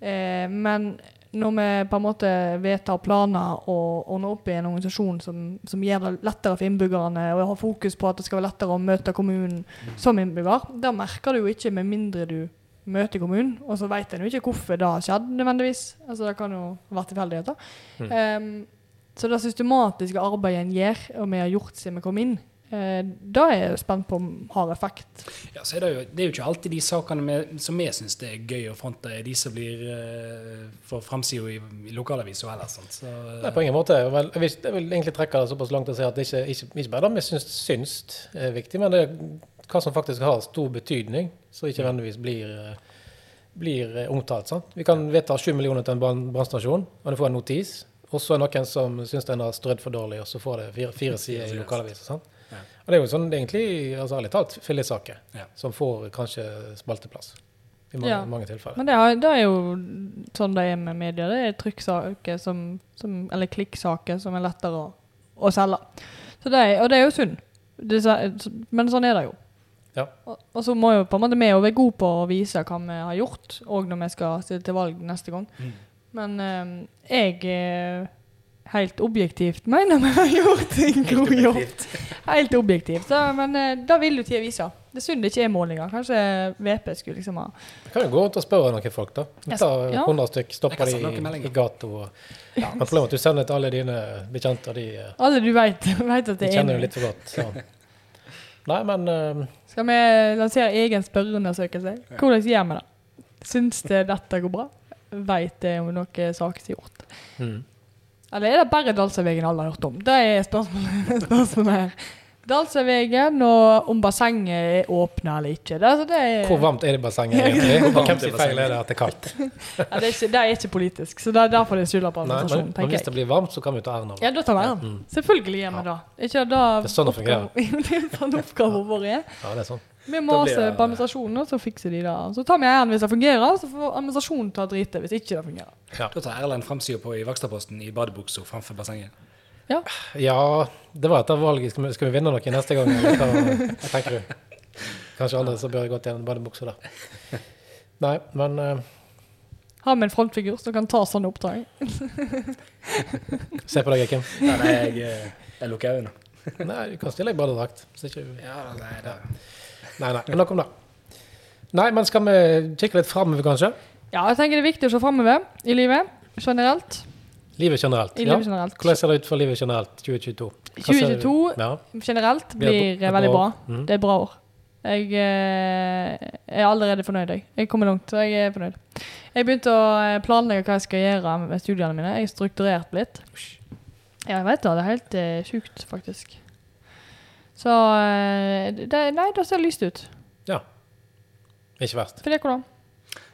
[SPEAKER 2] eh, men når vi på en måte vedtar planer og ordner opp i en organisasjon som, som gjør det lettere for innbyggerne, og har fokus på at det skal være lettere å møte kommunen som innbygger, det merker du jo ikke med mindre du møter kommunen. Og så vet en jo ikke hvorfor det har skjedd nødvendigvis. Altså Det kan jo være tilfeldigheter. Ehm, så det systematiske arbeidet en gjør, og vi har gjort siden vi kom inn, eh, da er jeg jo spent på om har effekt.
[SPEAKER 3] Ja, så er det, jo, det er jo ikke alltid de sakene vi- som vi syns det er gøy å fronte, er de som blir eh, for framsida i, i lokalavisa ellers. sant? Så, eh,
[SPEAKER 1] Nei, på ingen måte. Vel, jeg, vil, jeg vil egentlig trekke det såpass langt og si at det ikke, ikke, ikke bare det vi syns, syns er viktig, men det er hva som faktisk har stor betydning, som ikke nødvendigvis blir, eh, blir eh, omtalt. Sant? Vi kan vedta 7 millioner til en brann- brannstasjon, og du får en notis. Og så er det noen som syns den har strødd for dårlig, og så får det fire, fire sider i lokalavisen. sant?
[SPEAKER 3] Ja.
[SPEAKER 1] Og det er jo sånn egentlig, altså ærlig talt, fillesaker
[SPEAKER 3] Ja.
[SPEAKER 1] som får kanskje spalteplass. I mange,
[SPEAKER 2] Ja.
[SPEAKER 1] mange tilfeller.
[SPEAKER 2] Men det er, det er jo sånn det er med media. Det er trykksaker som, som Eller klikksaker som er lettere å, å selge. Så det er, og det er jo synd. Det, er så- men sånn er det jo.
[SPEAKER 1] Ja.
[SPEAKER 2] Og, og så må jo på en måte vi òg være gode på å vise hva vi har gjort, òg når vi skal stille til valg neste gang.
[SPEAKER 3] Mm.
[SPEAKER 2] Men eh, jeg eh, helt objektivt mener vi har gjort en god jobb. Helt objektivt. Da, men eh, det vil jo tida vise. Det er synd det ikke er målinger. Kanskje VP skulle liksom ha
[SPEAKER 1] Du kan jo gå rundt og spørre noen folk, da.
[SPEAKER 2] Jeg
[SPEAKER 1] Ta
[SPEAKER 2] skal- ja.
[SPEAKER 1] 100 stykk,
[SPEAKER 3] Jeg
[SPEAKER 1] stopper
[SPEAKER 3] kan sende
[SPEAKER 1] de
[SPEAKER 3] noen
[SPEAKER 1] i- i gata. og- Men problemet er at du sender til alle dine bekjente, og de, eh,
[SPEAKER 2] Alle du veit vet
[SPEAKER 1] de
[SPEAKER 2] at det er
[SPEAKER 1] kjenner jo
[SPEAKER 2] noe.
[SPEAKER 1] litt for godt. Så. Nei, men eh,
[SPEAKER 2] Skal vi lansere egen spørreundersøkelse? Hvordan gjør vi det? Syns det dette går bra? Veit det om noe saklig gjort? Hmm.
[SPEAKER 1] mm.
[SPEAKER 2] Eller er det bare Dalsøyvegen alle har hørt om? Det er spørsmålet, spørsmålet her. Dalsøyvegen og om bassenget er åpna eller ikke. Det, altså, det, er,
[SPEAKER 1] Hvor varmt er det i bassenget egentlig?
[SPEAKER 3] varmt
[SPEAKER 1] Hvem
[SPEAKER 3] er
[SPEAKER 1] sin feil er det at det er kaldt?
[SPEAKER 2] ja, det, er ikke, det er ikke politisk, så det er derfor det er skylda på
[SPEAKER 1] Nei, men,
[SPEAKER 2] administrasjonen,
[SPEAKER 1] men hvis
[SPEAKER 2] tenker
[SPEAKER 1] det
[SPEAKER 2] jeg.
[SPEAKER 1] blir varmt, så kan vi ta æren av
[SPEAKER 2] Ja,
[SPEAKER 1] det.
[SPEAKER 2] da tar vi den. Selvfølgelig gjør vi det. Ikke da
[SPEAKER 1] Det er sånn det fungerer.
[SPEAKER 2] oppgaven- det er sånn oppgaven vår er.
[SPEAKER 1] Ja, det er sånn.
[SPEAKER 2] Vi
[SPEAKER 3] Da blir
[SPEAKER 2] maser
[SPEAKER 3] det-
[SPEAKER 2] på administrasjonen, og så fikser de det. Så tar vi æren hvis det fungerer, så får administrasjonen ta dritet hvis ikke det fungerer.
[SPEAKER 3] Da tar Erlend framsida på i Vakstadposten i badebuksa framfor bassenget.
[SPEAKER 1] Ja, det var etter valget. Skal vi, skal vi vinne noe neste gang? Eller hva hva tenker du? Kanskje andre som bør gått igjen badebuksa der. Nei, men eh,
[SPEAKER 2] Har vi en frontfigur som kan ta sånne oppdrag?
[SPEAKER 1] se på deg, Kim.
[SPEAKER 3] Nei, nei, jeg, eh, jeg lukker øynene.
[SPEAKER 1] Nei, du kan stille deg i badedrakt. så ikke du-
[SPEAKER 3] Ja, nei, da.
[SPEAKER 1] Nei, nei, men nok om det. Nei, men skal vi kikke litt framover, kanskje?
[SPEAKER 2] Ja, jeg tenker det er viktig å se framover i livet generelt.
[SPEAKER 1] Livet generelt.
[SPEAKER 2] I
[SPEAKER 1] ja.
[SPEAKER 2] livet generelt.
[SPEAKER 1] Hvordan ser det ut for livet generelt 2022? Hva ser du-
[SPEAKER 2] 2022
[SPEAKER 1] Ja.
[SPEAKER 2] generelt
[SPEAKER 1] Blir det
[SPEAKER 2] blir
[SPEAKER 1] bra- et
[SPEAKER 2] veldig bra.
[SPEAKER 1] bra år? Mhm.
[SPEAKER 2] Det er bra år. Jeg eh, er allerede fornøyd. Jeg Jeg kommer langt, så jeg er fornøyd. Jeg begynte å eh, planlegge hva jeg skal gjøre med studiene mine. Jeg er strukturert litt. Ja, jeg vet det. Det er helt eh, sjukt, faktisk. Så eh, det, Nei, det ser lyst ut.
[SPEAKER 1] Ikke verst.
[SPEAKER 2] For det går an.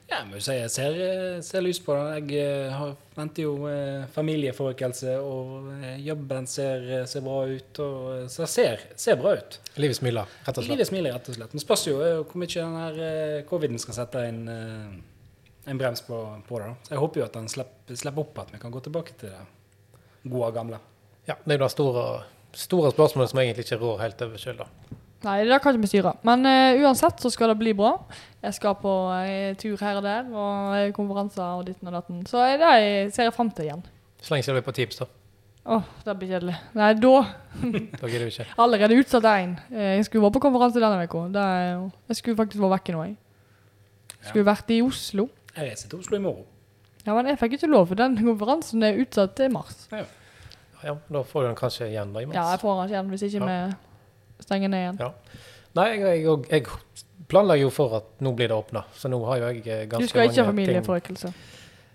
[SPEAKER 3] Ja, jeg må jo si jeg ser, eh, ser lyst på det. Jeg eh, har, venter jo eh, familieforøkelse, og eh, jobben ser, ser bra ut. Og, eh, så det ser, ser bra ut.
[SPEAKER 1] Livet smiler, rett og slett.
[SPEAKER 3] Livet smiler, rett og slett. Men spørs jo eh, hvor mye den her eh, coviden skal sette en, eh, en brems på, på det. da. Så jeg håper jo at den slipper, slipper opp, at vi kan gå tilbake til det gode gamle.
[SPEAKER 1] Ja, det er jo det store, store spørsmålet som jeg egentlig ikke rår helt over sjøl, da.
[SPEAKER 2] Nei, det der kan ikke vi styre. Men eh, uansett så skal det bli bra. Jeg skal på eh, tur her og der, og eh, konferanser og ditten og datten. Så eh, det ser jeg fram til igjen.
[SPEAKER 1] Så lenge det blir på tips, da.
[SPEAKER 2] Åh, det blir kjedelig. Nei, da
[SPEAKER 1] Da gidder du ikke.
[SPEAKER 2] Allerede utsatt én. Jeg skulle vært på konferanse denne uka. Det er jo- Jeg skulle faktisk vært vekke nå, jeg. Skulle vært i Oslo.
[SPEAKER 3] Jeg reiser til Oslo i morgen.
[SPEAKER 2] Ja, men jeg fikk ikke lov, for den konferansen er utsatt til mars.
[SPEAKER 1] Ja, da får du den kanskje igjen da i mars.
[SPEAKER 2] Ja, jeg får den ikke igjen hvis ikke vi stenger ned igjen.
[SPEAKER 1] Ja. Nei, jeg, jeg, jeg planlegger jo for at nå blir det åpna, så nå har jo jeg eh, ganske
[SPEAKER 2] Du skal ikke ha
[SPEAKER 1] mange ting.
[SPEAKER 2] familieforøkelse.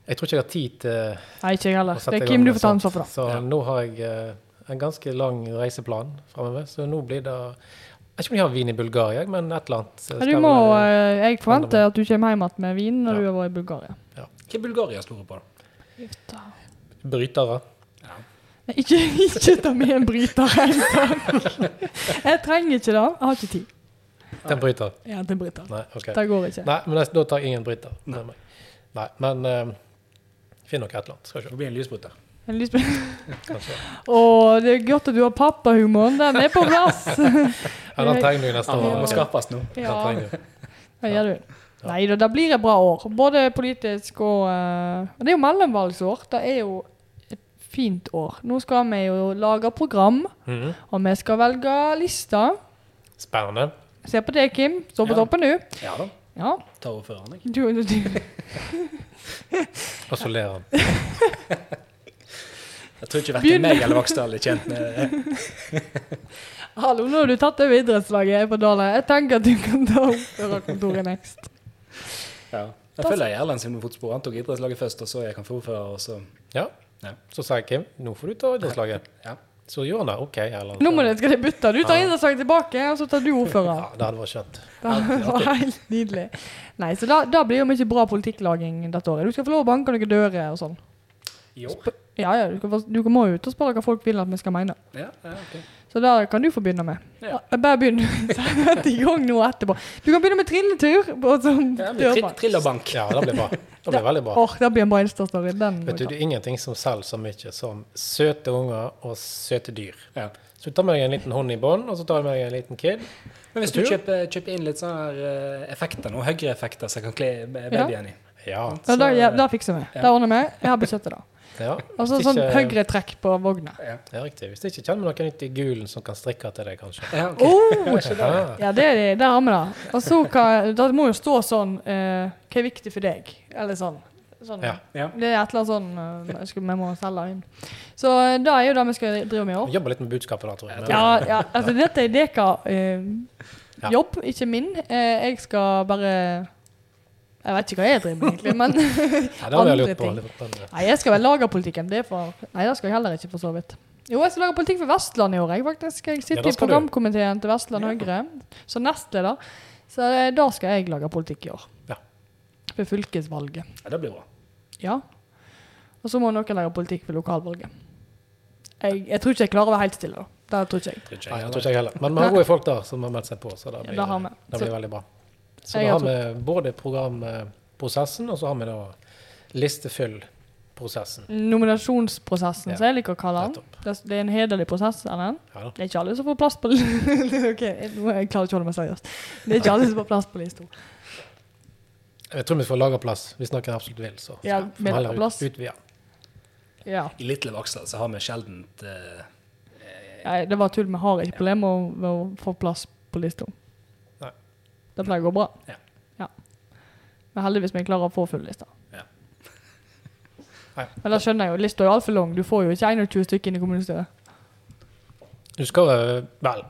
[SPEAKER 1] Jeg tror ikke jeg har tid til
[SPEAKER 2] Nei, ikke jeg heller.
[SPEAKER 1] å sette
[SPEAKER 2] Det er
[SPEAKER 1] i
[SPEAKER 2] Kim
[SPEAKER 1] gang
[SPEAKER 2] du
[SPEAKER 1] med
[SPEAKER 2] får ta
[SPEAKER 1] sånt.
[SPEAKER 2] ansvar for, da.
[SPEAKER 1] Så nå har jeg eh, en ganske lang reiseplan framover, så nå blir det Jeg vet ikke om de har vin i Bulgaria, men et eller annet. eh,
[SPEAKER 2] Ja, du
[SPEAKER 1] skal
[SPEAKER 2] må,
[SPEAKER 1] vel, eh,
[SPEAKER 2] eh, jeg forventer at du kommer hjem igjen med vin når
[SPEAKER 1] Ja.
[SPEAKER 2] du har vært i Bulgaria.
[SPEAKER 3] Hva er Bulgaria store på? da?
[SPEAKER 1] Brytere.
[SPEAKER 2] Nei, Ikke, ikke ta med en bryter hjem. takk. Jeg trenger ikke det. Jeg har ikke tid.
[SPEAKER 1] Den bryter.
[SPEAKER 2] Jeg henter en bryter.
[SPEAKER 1] Nei, OK.
[SPEAKER 2] Det går ikke.
[SPEAKER 1] Nei, men jeg- da tar jeg ingen bryter. Nei. Nei, men eh, finn nok et eller annet. Skal vi se.
[SPEAKER 3] Det blir en lysbryter.
[SPEAKER 2] En lysbe-
[SPEAKER 1] Kanskje.
[SPEAKER 2] Å, det er godt at du har pappahumoren. Den er på plass.
[SPEAKER 1] Ja, den trenger du neste
[SPEAKER 3] Den
[SPEAKER 1] år.
[SPEAKER 3] må skaffes nå.
[SPEAKER 1] Den
[SPEAKER 2] Eh, Ja,
[SPEAKER 1] trenger du.
[SPEAKER 2] det gjør du. Nei da, det blir et bra år. Både politisk og eh, og Det er jo mellomvalgsår. Det er jo et fint år. Nå skal vi jo lage program,
[SPEAKER 1] Mhm.
[SPEAKER 2] og vi skal velge lister.
[SPEAKER 1] Spennende.
[SPEAKER 2] Se på det, Kim. Stå på
[SPEAKER 3] Ja.
[SPEAKER 2] toppen, du.
[SPEAKER 3] Ja da.
[SPEAKER 2] Ja.
[SPEAKER 3] Ta ordføreren, jeg.
[SPEAKER 2] Du, du, du.
[SPEAKER 1] Og så ler han.
[SPEAKER 3] Jeg tror ikke
[SPEAKER 2] Begynn.
[SPEAKER 3] verken meg eller Vaksdal er kjent med
[SPEAKER 2] Hallo, nå har du tatt over idrettslaget her på Dale. Jeg tenker at du kan ta ordførerkontoret next.
[SPEAKER 3] ja. Jeg følger Erlend sine fotspor. Han tok idrettslaget først, og så jeg kan få ordfører, og så
[SPEAKER 1] Ja.
[SPEAKER 3] Ja.
[SPEAKER 1] Så sa jeg Kim, nå får du ta idrettslaget.
[SPEAKER 3] Ja.
[SPEAKER 1] Så gjorde han det. OK. Eller,
[SPEAKER 2] Nå må det, skal de bytte. Du tar idrettslaget tilbake, og så tar du ordfører.
[SPEAKER 1] Ja, det hadde vært skjønt.
[SPEAKER 2] Det var helt nydelig. Nei, så da, da blir det jo mye bra politikklaging dette året. Du skal få lov å banke noen dører og sånn.
[SPEAKER 3] I år?
[SPEAKER 2] Ja, ja, du, skal, få- du må jo ut og spørre hva folk vil at vi skal mene.
[SPEAKER 3] Ja, ja, ok.
[SPEAKER 2] Så da kan du få begynne med.
[SPEAKER 3] Ja.
[SPEAKER 2] Ja, Bare begynn. Sett i gang nå etterpå. Du kan begynne med trilletur. Og sånn
[SPEAKER 3] Ja, men
[SPEAKER 2] dørbank.
[SPEAKER 3] trill- Trillebank.
[SPEAKER 1] Ja, det ble bra. Det ble veldig bra.
[SPEAKER 2] Åh, det blir en bra Insta-story. Den må
[SPEAKER 1] Vet du,
[SPEAKER 2] vi ta.
[SPEAKER 1] Det er ingenting som selger så mye som søte unger og søte dyr.
[SPEAKER 3] Ja.
[SPEAKER 1] Så du tar med deg en liten hund i bånd, og så tar du med deg en liten kid.
[SPEAKER 3] Men hvis du kjøper, kjøper inn litt sånne her, eh, effekter nå, høyreeffekter som jeg kan kle babyen i
[SPEAKER 1] Ja.
[SPEAKER 2] Ja, det, ja,
[SPEAKER 3] så-
[SPEAKER 2] det fikser vi. Det ordner vi. Jeg har budsjettet, da.
[SPEAKER 1] ja.
[SPEAKER 2] Altså
[SPEAKER 1] Hvis
[SPEAKER 2] sånn
[SPEAKER 1] ikke-
[SPEAKER 2] høyre trekk på vogna.
[SPEAKER 3] Ja.
[SPEAKER 1] Ja, riktig. Hvis ikke kjenner noen ute i gulen som kan strikke til deg, kanskje.
[SPEAKER 3] Ja, ok.
[SPEAKER 2] Oh,
[SPEAKER 1] Ja.
[SPEAKER 2] ja, det er det. Der har vi det. Og så kan Det må jo stå sånn eh, Hva er viktig for deg? Eller sånn. sånn.
[SPEAKER 1] Ja.
[SPEAKER 3] Ja.
[SPEAKER 2] Det er et eller annet sånn eh, jeg skal, Vi må selge inn. Så eh, det er jo det vi skal drive med i
[SPEAKER 1] Vi
[SPEAKER 2] år.
[SPEAKER 1] jobber litt med budskapet da, tror jeg.
[SPEAKER 2] Ja, ja, altså dette er deka eh,
[SPEAKER 1] Ja.
[SPEAKER 2] jobb, ikke min. Eh, jeg skal bare Jeg vet ikke hva jeg driver med, egentlig, men
[SPEAKER 1] ja, det har jeg lurt på.
[SPEAKER 2] andre
[SPEAKER 1] Litt-
[SPEAKER 2] Nei, jeg skal vel lage politikken. Det er for... Nei, det skal jeg heller ikke, for så vidt. Jo, jeg skal lage politikk for Vestland i år. Jeg, faktisk. jeg sitter
[SPEAKER 1] Ja, da
[SPEAKER 2] i
[SPEAKER 1] skal du.
[SPEAKER 2] programkomiteen til Vestland Høyre som nestleder. Så eh, da skal jeg lage politikk i år.
[SPEAKER 1] Ja.
[SPEAKER 2] For fylkesvalget.
[SPEAKER 3] ja, det blir bra.
[SPEAKER 2] Ja. Og så må noen lage politikk for lokalvalget. Jeg, jeg tror ikke jeg klarer å være helt stille, da. Det tror ikke jeg.
[SPEAKER 3] Tror ikke
[SPEAKER 1] Nei,
[SPEAKER 3] jeg.
[SPEAKER 1] jeg tror ikke jeg heller. Men vi har gode folk der som har meldt seg på, så det
[SPEAKER 2] Ja,
[SPEAKER 1] blir,
[SPEAKER 2] det har vi.
[SPEAKER 1] det blir veldig bra. Så
[SPEAKER 2] Jeg
[SPEAKER 1] da
[SPEAKER 2] har
[SPEAKER 1] har vi både programprosessen, og så har vi da listefyllprosessen.
[SPEAKER 2] Nominasjonsprosessen,
[SPEAKER 1] Ja,
[SPEAKER 2] som jeg liker å kalle den.
[SPEAKER 1] nettopp.
[SPEAKER 2] Det, det er en hederlig prosess, Erlend.
[SPEAKER 1] Ja da.
[SPEAKER 2] Det er ikke alle som får plass på li- Ok, nå jeg klarer ikke å holde meg seriøst. Det er ikke alle som får plass på lista.
[SPEAKER 1] Jeg tror vi får laga plass, hvis noen absolutt vil. Så
[SPEAKER 2] Ja,
[SPEAKER 1] får vi heller ut-
[SPEAKER 2] plass.
[SPEAKER 1] utvide.
[SPEAKER 2] Ja.
[SPEAKER 3] I Little Vaksdal så har vi sjeldent eh,
[SPEAKER 2] Nei, det var tull. Vi har ikke problemer med å- med å få plass på lista.
[SPEAKER 1] Nei.
[SPEAKER 2] Det pleier å gå bra.
[SPEAKER 3] Ja.
[SPEAKER 2] Ja. Men heldigvis vi klarer å få full lista.
[SPEAKER 3] Ja.
[SPEAKER 1] Nei.
[SPEAKER 2] Men da skjønner jeg jo, lista er jo altfor lang. Du får jo ikke 21 stykker inn i kommunestyret.
[SPEAKER 1] Du skal eh, Vel,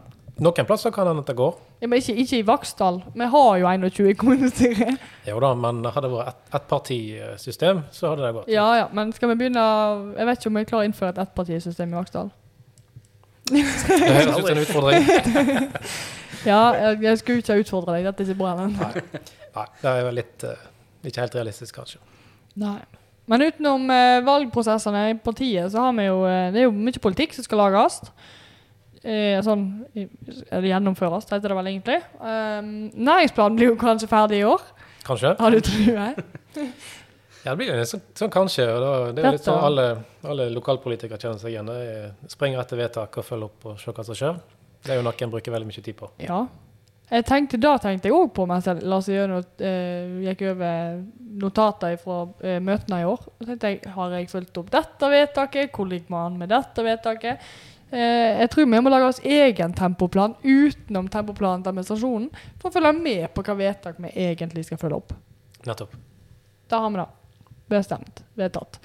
[SPEAKER 1] noen plasser kan hende at det går.
[SPEAKER 2] Ja, men ikke, ikke i Vaksdal. Vi har jo 21 i kommunestyret.
[SPEAKER 1] Jo da, men hadde det vært ett et partisystem, så hadde det gått.
[SPEAKER 2] Ja, ja, men skal vi begynne Jeg vet ikke om vi klarer å innføre et ettpartisystem i Vaksdal.
[SPEAKER 1] Det høres ut som en utfordring.
[SPEAKER 2] Ja, jeg, jeg skulle ikke utfordre deg. Dette er ikke bra. Men.
[SPEAKER 1] Nei, det er vel litt eh, Ikke helt realistisk, kanskje.
[SPEAKER 2] Nei. Men utenom eh, valgprosessene i partiet, så har vi jo eh, Det er jo mye politikk som skal lages. Eh, sånn i- Eller gjennomføres, heter det vel egentlig. Um, næringsplanen blir jo kanskje ferdig i år.
[SPEAKER 1] Kanskje?
[SPEAKER 2] Har du trua?
[SPEAKER 1] Ja, det blir jo litt sånn, sånn kanskje. Og da, det er jo litt
[SPEAKER 2] Dette-
[SPEAKER 1] sånn alle, alle lokalpolitikere kjenner seg igjen. Det er- Springer etter vedtak og følger opp og ser hva som skjer. Det er jo noe en bruker veldig mye tid på.
[SPEAKER 2] Ja. Jeg tenkte, da tenkte jeg òg på mens jeg la seg gjennom, eh, gikk over notater fra eh, møtene i år. Så tenkte jeg, Har jeg fulgt opp dette vedtaket? Hvor ligger vi an med dette vedtaket? Eh, jeg tror vi må lage oss egen tempoplan utenom tempoplanen til administrasjonen for å følge med på hva vedtak vi egentlig skal følge opp.
[SPEAKER 1] Nettopp.
[SPEAKER 2] Da har vi det. Bestemt. Vedtatt.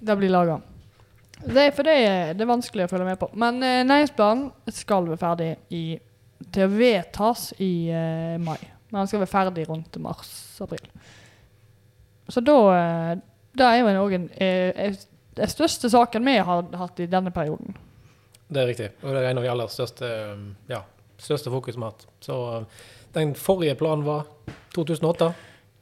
[SPEAKER 2] Det blir laga. Det, er- for det er, det er vanskelig å følge med på. Men eh, næringsplanen skal være ferdig i, til å vedtas i eh, mai. Men den skal være ferdig rundt mars-april. Så da eh, Det er jo en- òg en, eh, eh, den største saken vi har hatt i denne perioden.
[SPEAKER 1] Det er riktig. Og det er en av de aller største, eh, ja, største fokus vi har hatt. Så eh, den forrige planen var 2008.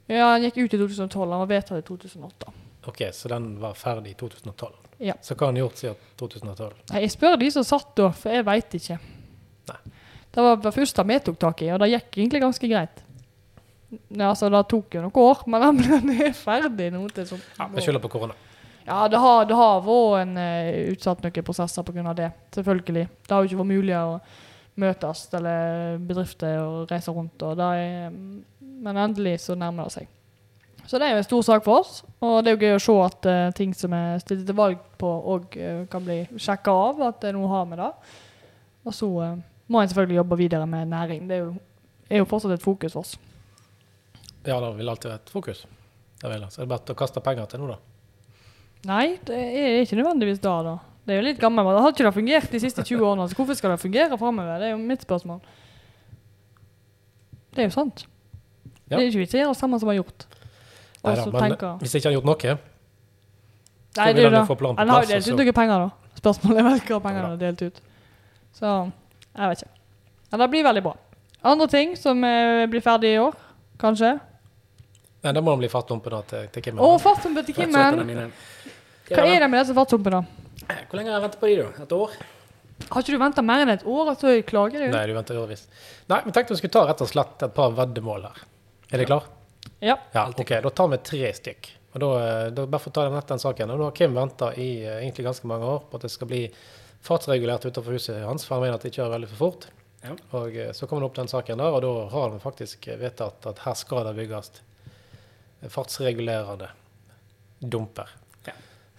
[SPEAKER 2] Ja, Den gikk ut i 2012. Den var vedtatt i 2008.
[SPEAKER 1] OK, så den var ferdig i 2012.
[SPEAKER 2] Ja.
[SPEAKER 1] Så hva har en gjort siden 2012?
[SPEAKER 2] Nei, jeg spør de som satt da, for jeg veit ikke.
[SPEAKER 1] Nei.
[SPEAKER 2] Det var det første vi tok tak i, og det gikk egentlig ganske greit. Ja, altså, det tok jo noen år, men den er ferdig nå. til sånn.
[SPEAKER 1] Ja, Vi skylder på korona.
[SPEAKER 2] Ja, det har, det har vært en eh, utsatt noen prosesser pga. det, selvfølgelig. Det har jo ikke vært mulig å møtes eller bedrifter og reise rundt. Og det er, mm, men endelig så nærmer det seg. Så det er jo en stor sak for oss, og det er jo gøy å se at eh, ting som er stilt til valg på, òg kan bli sjekka av, at det er noe å ha med det. Og så eh, må en selvfølgelig jobbe videre med næring. Det er jo, er jo fortsatt et fokus for oss.
[SPEAKER 1] Ja, det vil alltid være et fokus. Det vil, jeg. så er det bare å kaste penger til nå, da.
[SPEAKER 2] Nei, det er ikke nødvendigvis da, da. Det er jo litt gammel, men det har ikke det fungert de siste 20 årene, så hvorfor skal det fungere framover? Det er jo mitt spørsmål. Det er jo sant.
[SPEAKER 1] Ja.
[SPEAKER 2] Det er jo ikke vits i å gjøre det samme som vi har gjort. Og
[SPEAKER 1] Neida,
[SPEAKER 2] så
[SPEAKER 1] men
[SPEAKER 2] tenker-
[SPEAKER 1] hvis ikke han har gjort noe
[SPEAKER 2] Nei,
[SPEAKER 1] vil
[SPEAKER 2] det er jo
[SPEAKER 1] han jo
[SPEAKER 2] det.
[SPEAKER 1] få planen på
[SPEAKER 2] Han har jo
[SPEAKER 1] plass,
[SPEAKER 2] delt
[SPEAKER 1] og
[SPEAKER 2] ut
[SPEAKER 1] så-
[SPEAKER 2] noen penger, da. Spørsmålet er vel hva pengene
[SPEAKER 1] Ja,
[SPEAKER 2] er delt ut. Så jeg vet ikke. Men det blir veldig bra. Andre ting som eh, blir ferdig i år, kanskje.
[SPEAKER 1] Nei, da må han bli fartdumpen da, til, til Kim.
[SPEAKER 2] Å, fartsumpen til Kimmen!
[SPEAKER 3] Fartsåpene mine.
[SPEAKER 2] Hva er det med disse fartsumpene?
[SPEAKER 3] Hvor lenge har jeg ventet på de, da? Et år?
[SPEAKER 2] Har ikke du venta mer enn et år, og så klager du?
[SPEAKER 1] Nei, du venter i årevis. Nei, vi tenkte vi skulle ta rett og slett et par veddemål her. Er dere klar?
[SPEAKER 2] Ja.
[SPEAKER 1] Ja, ok, da tar vi tre stykk. Og da, eh, da bare for å ta den, den saken. Og nå har Kim venta i eh, egentlig ganske mange år på at det skal bli fartsregulert utenfor huset hans, for han mener at de kjører veldig for fort.
[SPEAKER 3] Ja.
[SPEAKER 1] Og eh, så kom det opp den saken der, og da har han faktisk eh, vedtatt at her skal det bygges fartsregulerende dumper.
[SPEAKER 3] Ja.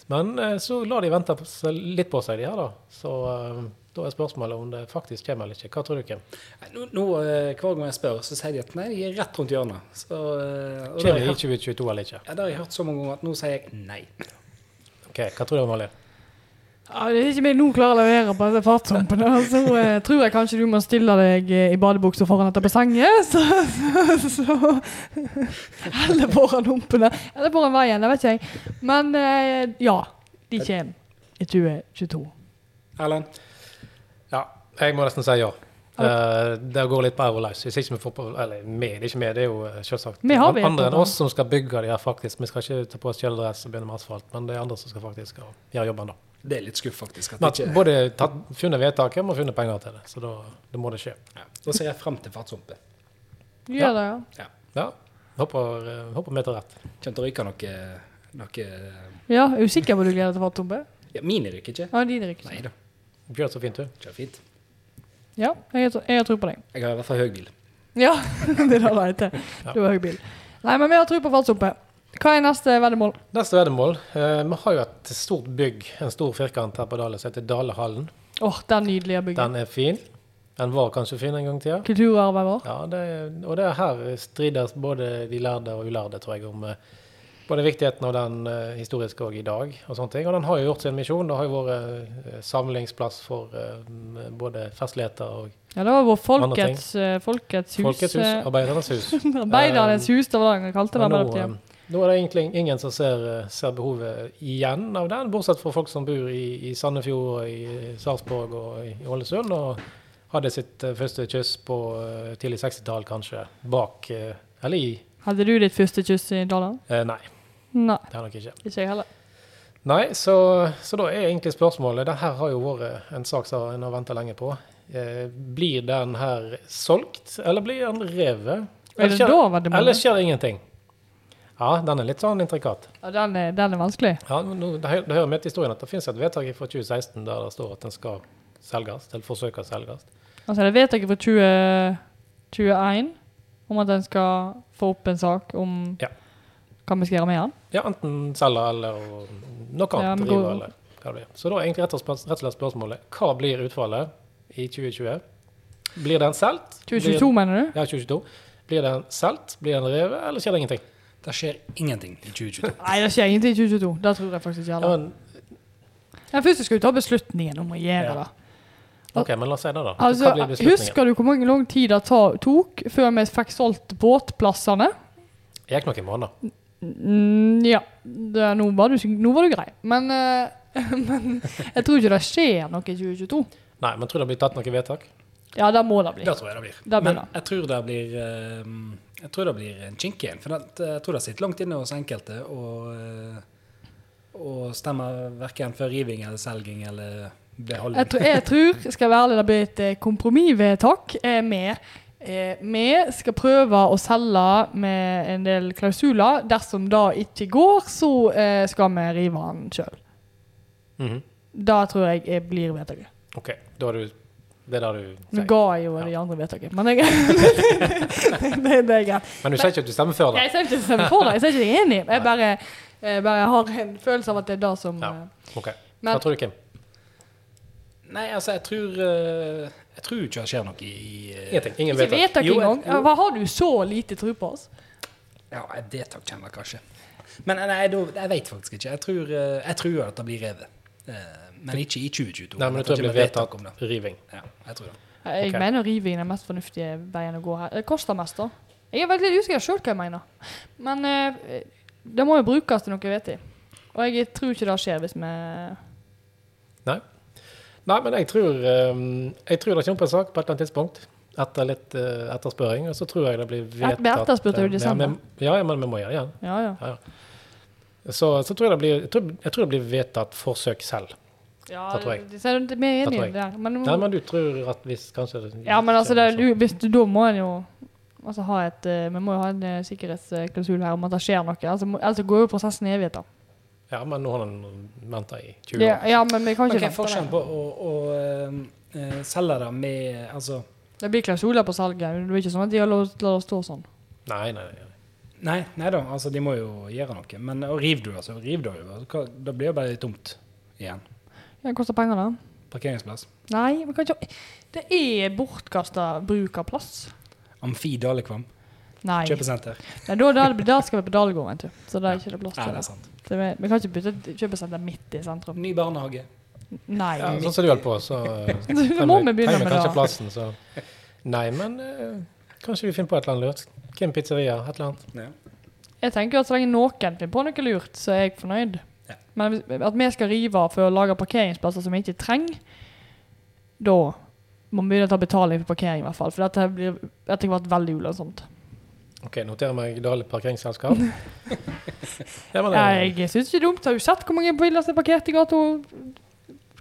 [SPEAKER 1] Men eh, så la de vente på seg- litt på seg, de her, da. Så eh, da er spørsmålet om det faktisk kommer eller ikke. Hva tror du, Kim?
[SPEAKER 3] Nei, Nå, nå, eh, Hver gang jeg spør, så sier de at nei, de er rett rundt hjørnet. Så, eh, og da har
[SPEAKER 1] Kommer
[SPEAKER 3] jeg
[SPEAKER 1] det i
[SPEAKER 3] hørt-
[SPEAKER 1] 2022 eller ikke?
[SPEAKER 3] ja, det har jeg hørt så mange ganger at nå sier jeg nei.
[SPEAKER 1] Ok, Hva tror du, Malin?
[SPEAKER 2] Ja, det er ikke meg nå klarer å levere på disse fartshumpene, så eh, tror jeg kanskje du må stille deg eh, i badebuksa foran dette bassenget. Så, så, så. Eller foran humpene. Eller foran veien, det vet ikke jeg. Men eh, ja, de kommer i 2022.
[SPEAKER 3] Erlend?
[SPEAKER 1] Ja, jeg må nesten si ja. Eh, det går litt på euroløs. Hvis ikke vi får på Eller vi, det er ikke vi, det er jo eh, selvsagt
[SPEAKER 2] Vi har vedtatt
[SPEAKER 1] andre enn
[SPEAKER 2] det.
[SPEAKER 1] oss som skal bygge de her, faktisk. Vi skal ikke ta på oss kjeledress og begynne med asfalt, men det er andre som skal faktisk ja, gjøre jobben, da.
[SPEAKER 3] Det er litt skuff, faktisk. At
[SPEAKER 1] Men
[SPEAKER 3] det
[SPEAKER 1] at
[SPEAKER 3] ikke,
[SPEAKER 1] både tatt, funnet vedtaket og funnet penger til det, så da, da må det skje.
[SPEAKER 3] ja. Da ser jeg frem til fartshumpen.
[SPEAKER 2] Gjør det, ja.
[SPEAKER 1] Ja. Håper, eh, håper vi tar rett.
[SPEAKER 3] Kommer til å ryke noe, noe
[SPEAKER 2] Ja, er du sikker på at du gleder deg til fartshumpe?
[SPEAKER 3] Ja, mine ryker ikke.
[SPEAKER 2] Ja, dine rykker.
[SPEAKER 3] Nei da.
[SPEAKER 1] Gjør det så fint, du.
[SPEAKER 3] Kjør fint.
[SPEAKER 2] Ja, jeg har tro- jeg har tro på deg.
[SPEAKER 3] Jeg har i hvert fall høy bil.
[SPEAKER 2] Ja, det la jeg til. Du har høy bil. Nei, men vi har tro på fartshumpe. Hva er neste veddemål?
[SPEAKER 1] Neste veddemål. Eh, vi har jo et stort bygg, en stor firkant her på Dale, som heter Dalehallen.
[SPEAKER 2] Åh, den nydelige bygget.
[SPEAKER 1] Den er fin. Den var kanskje fin en gang i tida.
[SPEAKER 2] Kulturarven vår.
[SPEAKER 1] Ja, det, og det er her strides både de lærde og ulærde, tror jeg, om eh, både viktigheten av den eh, historiske og i dag. Og sånne ting. Og den har jo gjort sin misjon. Det har jo vært eh, samlingsplass for eh, m- både festligheter og
[SPEAKER 2] Ja, det var vår
[SPEAKER 1] Andre ting.
[SPEAKER 2] folkets, eh, folkets hus.
[SPEAKER 1] folkets hus,
[SPEAKER 2] eh,
[SPEAKER 1] arbeidernes hus.
[SPEAKER 2] Arbeidernes hus, det var det han kalte
[SPEAKER 1] Og
[SPEAKER 2] det.
[SPEAKER 1] nå,
[SPEAKER 2] Arbeiderpartiet.
[SPEAKER 1] eh, nå er det egentlig ingen som ser, eh, ser behovet igjen av den, bortsett fra folk som bor i, i Sandefjord, og i Sarpsborg og i Ålesund. og hadde sitt eh, første kyss på eh, tidlig 60-tall, kanskje, bak eh, Eller i
[SPEAKER 2] Hadde du ditt første kyss i Dalland?
[SPEAKER 1] Eh, nei,
[SPEAKER 2] Nei,
[SPEAKER 1] det har jeg nok ikke.
[SPEAKER 2] ikke jeg heller.
[SPEAKER 1] Nei, så, så da er egentlig spørsmålet Det her har jo vært en sak som en har venta lenge på. Eh, blir den her solgt, eller blir den revet?
[SPEAKER 2] Er
[SPEAKER 1] Eller
[SPEAKER 2] det da var det
[SPEAKER 1] Eller
[SPEAKER 2] mange?
[SPEAKER 1] skjer det ingenting? Ja, den er litt sånn intrikat.
[SPEAKER 2] Ja, den, er, den er vanskelig.
[SPEAKER 1] Ja, men nå, det hø- det hører med til historien at det finnes et vedtak fra 2016 der det står at den skal selges, eller forsøkes selges.
[SPEAKER 2] Altså, det vet jeg fra 2021 om at en skal få opp en sak om
[SPEAKER 1] Ja.
[SPEAKER 2] hva vi skal gjøre med den.
[SPEAKER 1] Ja, enten selge eller og noe
[SPEAKER 2] Ja,
[SPEAKER 1] annet
[SPEAKER 2] men
[SPEAKER 1] drive,
[SPEAKER 2] god-
[SPEAKER 1] eller hva det blir. Så da er egentlig rett og, slett, rett og slett spørsmålet, hva blir utfallet i 2020? Blir den solgt?
[SPEAKER 2] 2022, mener du?
[SPEAKER 1] Blir, ja, 2022. Blir den solgt? Blir den revet, eller skjer det ingenting?
[SPEAKER 3] Det skjer ingenting i 2022.
[SPEAKER 2] Nei, det skjer ingenting i 2022. Det tror jeg faktisk ikke
[SPEAKER 1] Ja,
[SPEAKER 2] heller.
[SPEAKER 1] men,
[SPEAKER 2] Ja, først skal du ta beslutningen om å gjøre
[SPEAKER 1] Ja.
[SPEAKER 2] det.
[SPEAKER 1] ok, men la oss si det da.
[SPEAKER 2] Altså,
[SPEAKER 1] hva blir beslutningen?
[SPEAKER 2] husker du hvor mange lang tid det ta- tok før vi fikk solgt båtplassene?
[SPEAKER 1] Det gikk nok i måneder.
[SPEAKER 2] Mm, ja, det, nå, var du, nå var du grei. Men, eh, men jeg tror ikke det skjer noe i 2022.
[SPEAKER 1] Nei, men tror du det blir tatt noe vedtak?
[SPEAKER 2] Ja, det må det bli.
[SPEAKER 3] Det tror jeg det blir.
[SPEAKER 2] Det blir
[SPEAKER 3] Men
[SPEAKER 2] det.
[SPEAKER 3] jeg tror det blir ehm, Jeg tror det blir en kinkig en. For det- jeg tror det sitter langt inne hos enkelte å eh, å stemme verken for riving eller selging eller beholding.
[SPEAKER 2] Jeg, tror- jeg tror, skal jeg være ærlig, det blir et eh, kompromissvedtak eh, med eh, Vi skal prøve å selge med en del klausuler. Dersom det ikke går, så eh, skal vi rive den sjøl.
[SPEAKER 1] Mhm.
[SPEAKER 2] Det tror jeg eh, blir vedtaket.
[SPEAKER 1] Ok, da er du... Det er det du
[SPEAKER 2] Nå
[SPEAKER 1] sier.
[SPEAKER 2] ga jeg jo det andre vedtaket, men jeg, det, det er greit.
[SPEAKER 1] Men du sier ikke at du stemmer før da?
[SPEAKER 2] Jeg sier ikke stemme for det, jeg sier ikke jeg er enig. Jeg bare, jeg bare har en følelse av at det er det som
[SPEAKER 1] Ja.
[SPEAKER 2] eh,
[SPEAKER 1] Ok,
[SPEAKER 2] Men-
[SPEAKER 1] hva tror du, Kim?
[SPEAKER 3] Nei, altså, jeg tror eh, Jeg tror ikke det skjer noe i eh,
[SPEAKER 1] Ingenting, ingen
[SPEAKER 2] Ikke
[SPEAKER 1] vedtak.
[SPEAKER 2] vedtak
[SPEAKER 3] Jo, jeg-
[SPEAKER 2] engang.
[SPEAKER 3] jo.
[SPEAKER 2] Hva har du så lite tro på oss?
[SPEAKER 3] Ja, et vedtak kommer kanskje. Men eh, nei, da- jeg vet faktisk ikke. Jeg tror, eh, jeg tror at det blir revet. Eh, Men ikke i 2022.
[SPEAKER 1] Nei, men det
[SPEAKER 3] Jeg
[SPEAKER 1] tror jeg
[SPEAKER 3] ikke
[SPEAKER 1] blir vedtak om riving.
[SPEAKER 3] Ja, jeg tror det.
[SPEAKER 2] Jeg
[SPEAKER 1] Ok.
[SPEAKER 2] mener riving er den mest fornuftige veien å gå her. Det koster mest, da. Jeg er veldig usikker sjøl hva jeg mener. Men eh, det må jo brukes til noe, vet jeg. Og jeg tror ikke det skjer hvis vi
[SPEAKER 1] Nei, men jeg tror, ehm, jeg tror det kommer på en sak på et eller annet tidspunkt. Etter litt eh, etterspørring. Og så tror jeg det blir vedtatt
[SPEAKER 2] ble etterspurt jo i
[SPEAKER 1] eh,
[SPEAKER 2] desember.
[SPEAKER 1] Ja, men- ja, men vi må gjøre det igjen.
[SPEAKER 2] Ja, ja.
[SPEAKER 1] Så, så tror jeg det blir, jeg tror, jeg tror det blir vedtatt forsøk selv.
[SPEAKER 2] ja
[SPEAKER 1] Det tror jeg.
[SPEAKER 2] det- det- det- Vi er
[SPEAKER 1] Det tror
[SPEAKER 2] enige i
[SPEAKER 1] jeg.
[SPEAKER 2] det. her, Men,
[SPEAKER 1] Nei, men du tror at hvis kanskje det,
[SPEAKER 2] Mm. ja, men altså, det, du, hvis du, da må en jo altså, ha et, eh, Vi må jo ha en eh, sikkerhetsklausul her om at det skjer noe. Altså, må- Ellers går jo prosessen i evigheter.
[SPEAKER 1] Ja, men nå har den venta i 20 år.
[SPEAKER 2] Ja, ja, men vi kan ikke
[SPEAKER 3] Men Hva er
[SPEAKER 2] vente
[SPEAKER 3] forskjellen
[SPEAKER 2] det.
[SPEAKER 3] på å, å eh, eh, selge det med Altså
[SPEAKER 2] Det blir klausuler på salget. Det er ikke sånn at de har lov til å stå sånn.
[SPEAKER 1] Nei, nei, nei.
[SPEAKER 3] Nei, nei da, altså de må jo gjøre noe. Men og riv du, altså. Riv du, hva- da blir det bare tomt igjen.
[SPEAKER 2] Ja, Det koster penger, da.
[SPEAKER 3] Parkeringsplass.
[SPEAKER 2] Nei, vi kan ikke Det er bortkasta bruk av plass.
[SPEAKER 3] Amfi Dalekvam.
[SPEAKER 2] Nei.
[SPEAKER 3] Kjøpesenter.
[SPEAKER 2] Nei da, der, der skal vi på Dalgård, vet du. Så det er ikke det plass
[SPEAKER 3] Ja,
[SPEAKER 2] til. det.
[SPEAKER 3] det er sant.
[SPEAKER 2] Så vi, vi kan ikke bytte et kjøpesenter midt i sentrum.
[SPEAKER 3] Ny barnehage.
[SPEAKER 2] Nei.
[SPEAKER 3] altså.
[SPEAKER 1] Ja, sånn som du holder på, så eh,
[SPEAKER 2] Det må
[SPEAKER 1] trenger
[SPEAKER 2] vi begynne
[SPEAKER 1] trenger
[SPEAKER 2] med,
[SPEAKER 1] kanskje
[SPEAKER 2] da.
[SPEAKER 1] plassen, så Nei, men eh, kanskje vi finner på et eller annet lurt. Kim Pizzeria, et eller annet.
[SPEAKER 2] Jeg tenker at så lenge noen finner på noe lurt, så er jeg fornøyd.
[SPEAKER 3] Ja.
[SPEAKER 2] Men hvis- at vi skal rive for å lage parkeringsplasser som vi ikke trenger, da må vi begynne å ta betaling for parkering, i hvert fall. For dette blir etter hvert veldig ulønnsomt.
[SPEAKER 1] OK, noterer meg Dale parkeringsselskap. Ja, men, eh,
[SPEAKER 2] Jeg syns ikke det er dumt. Har du sett hvor mange biler som er parkert i gata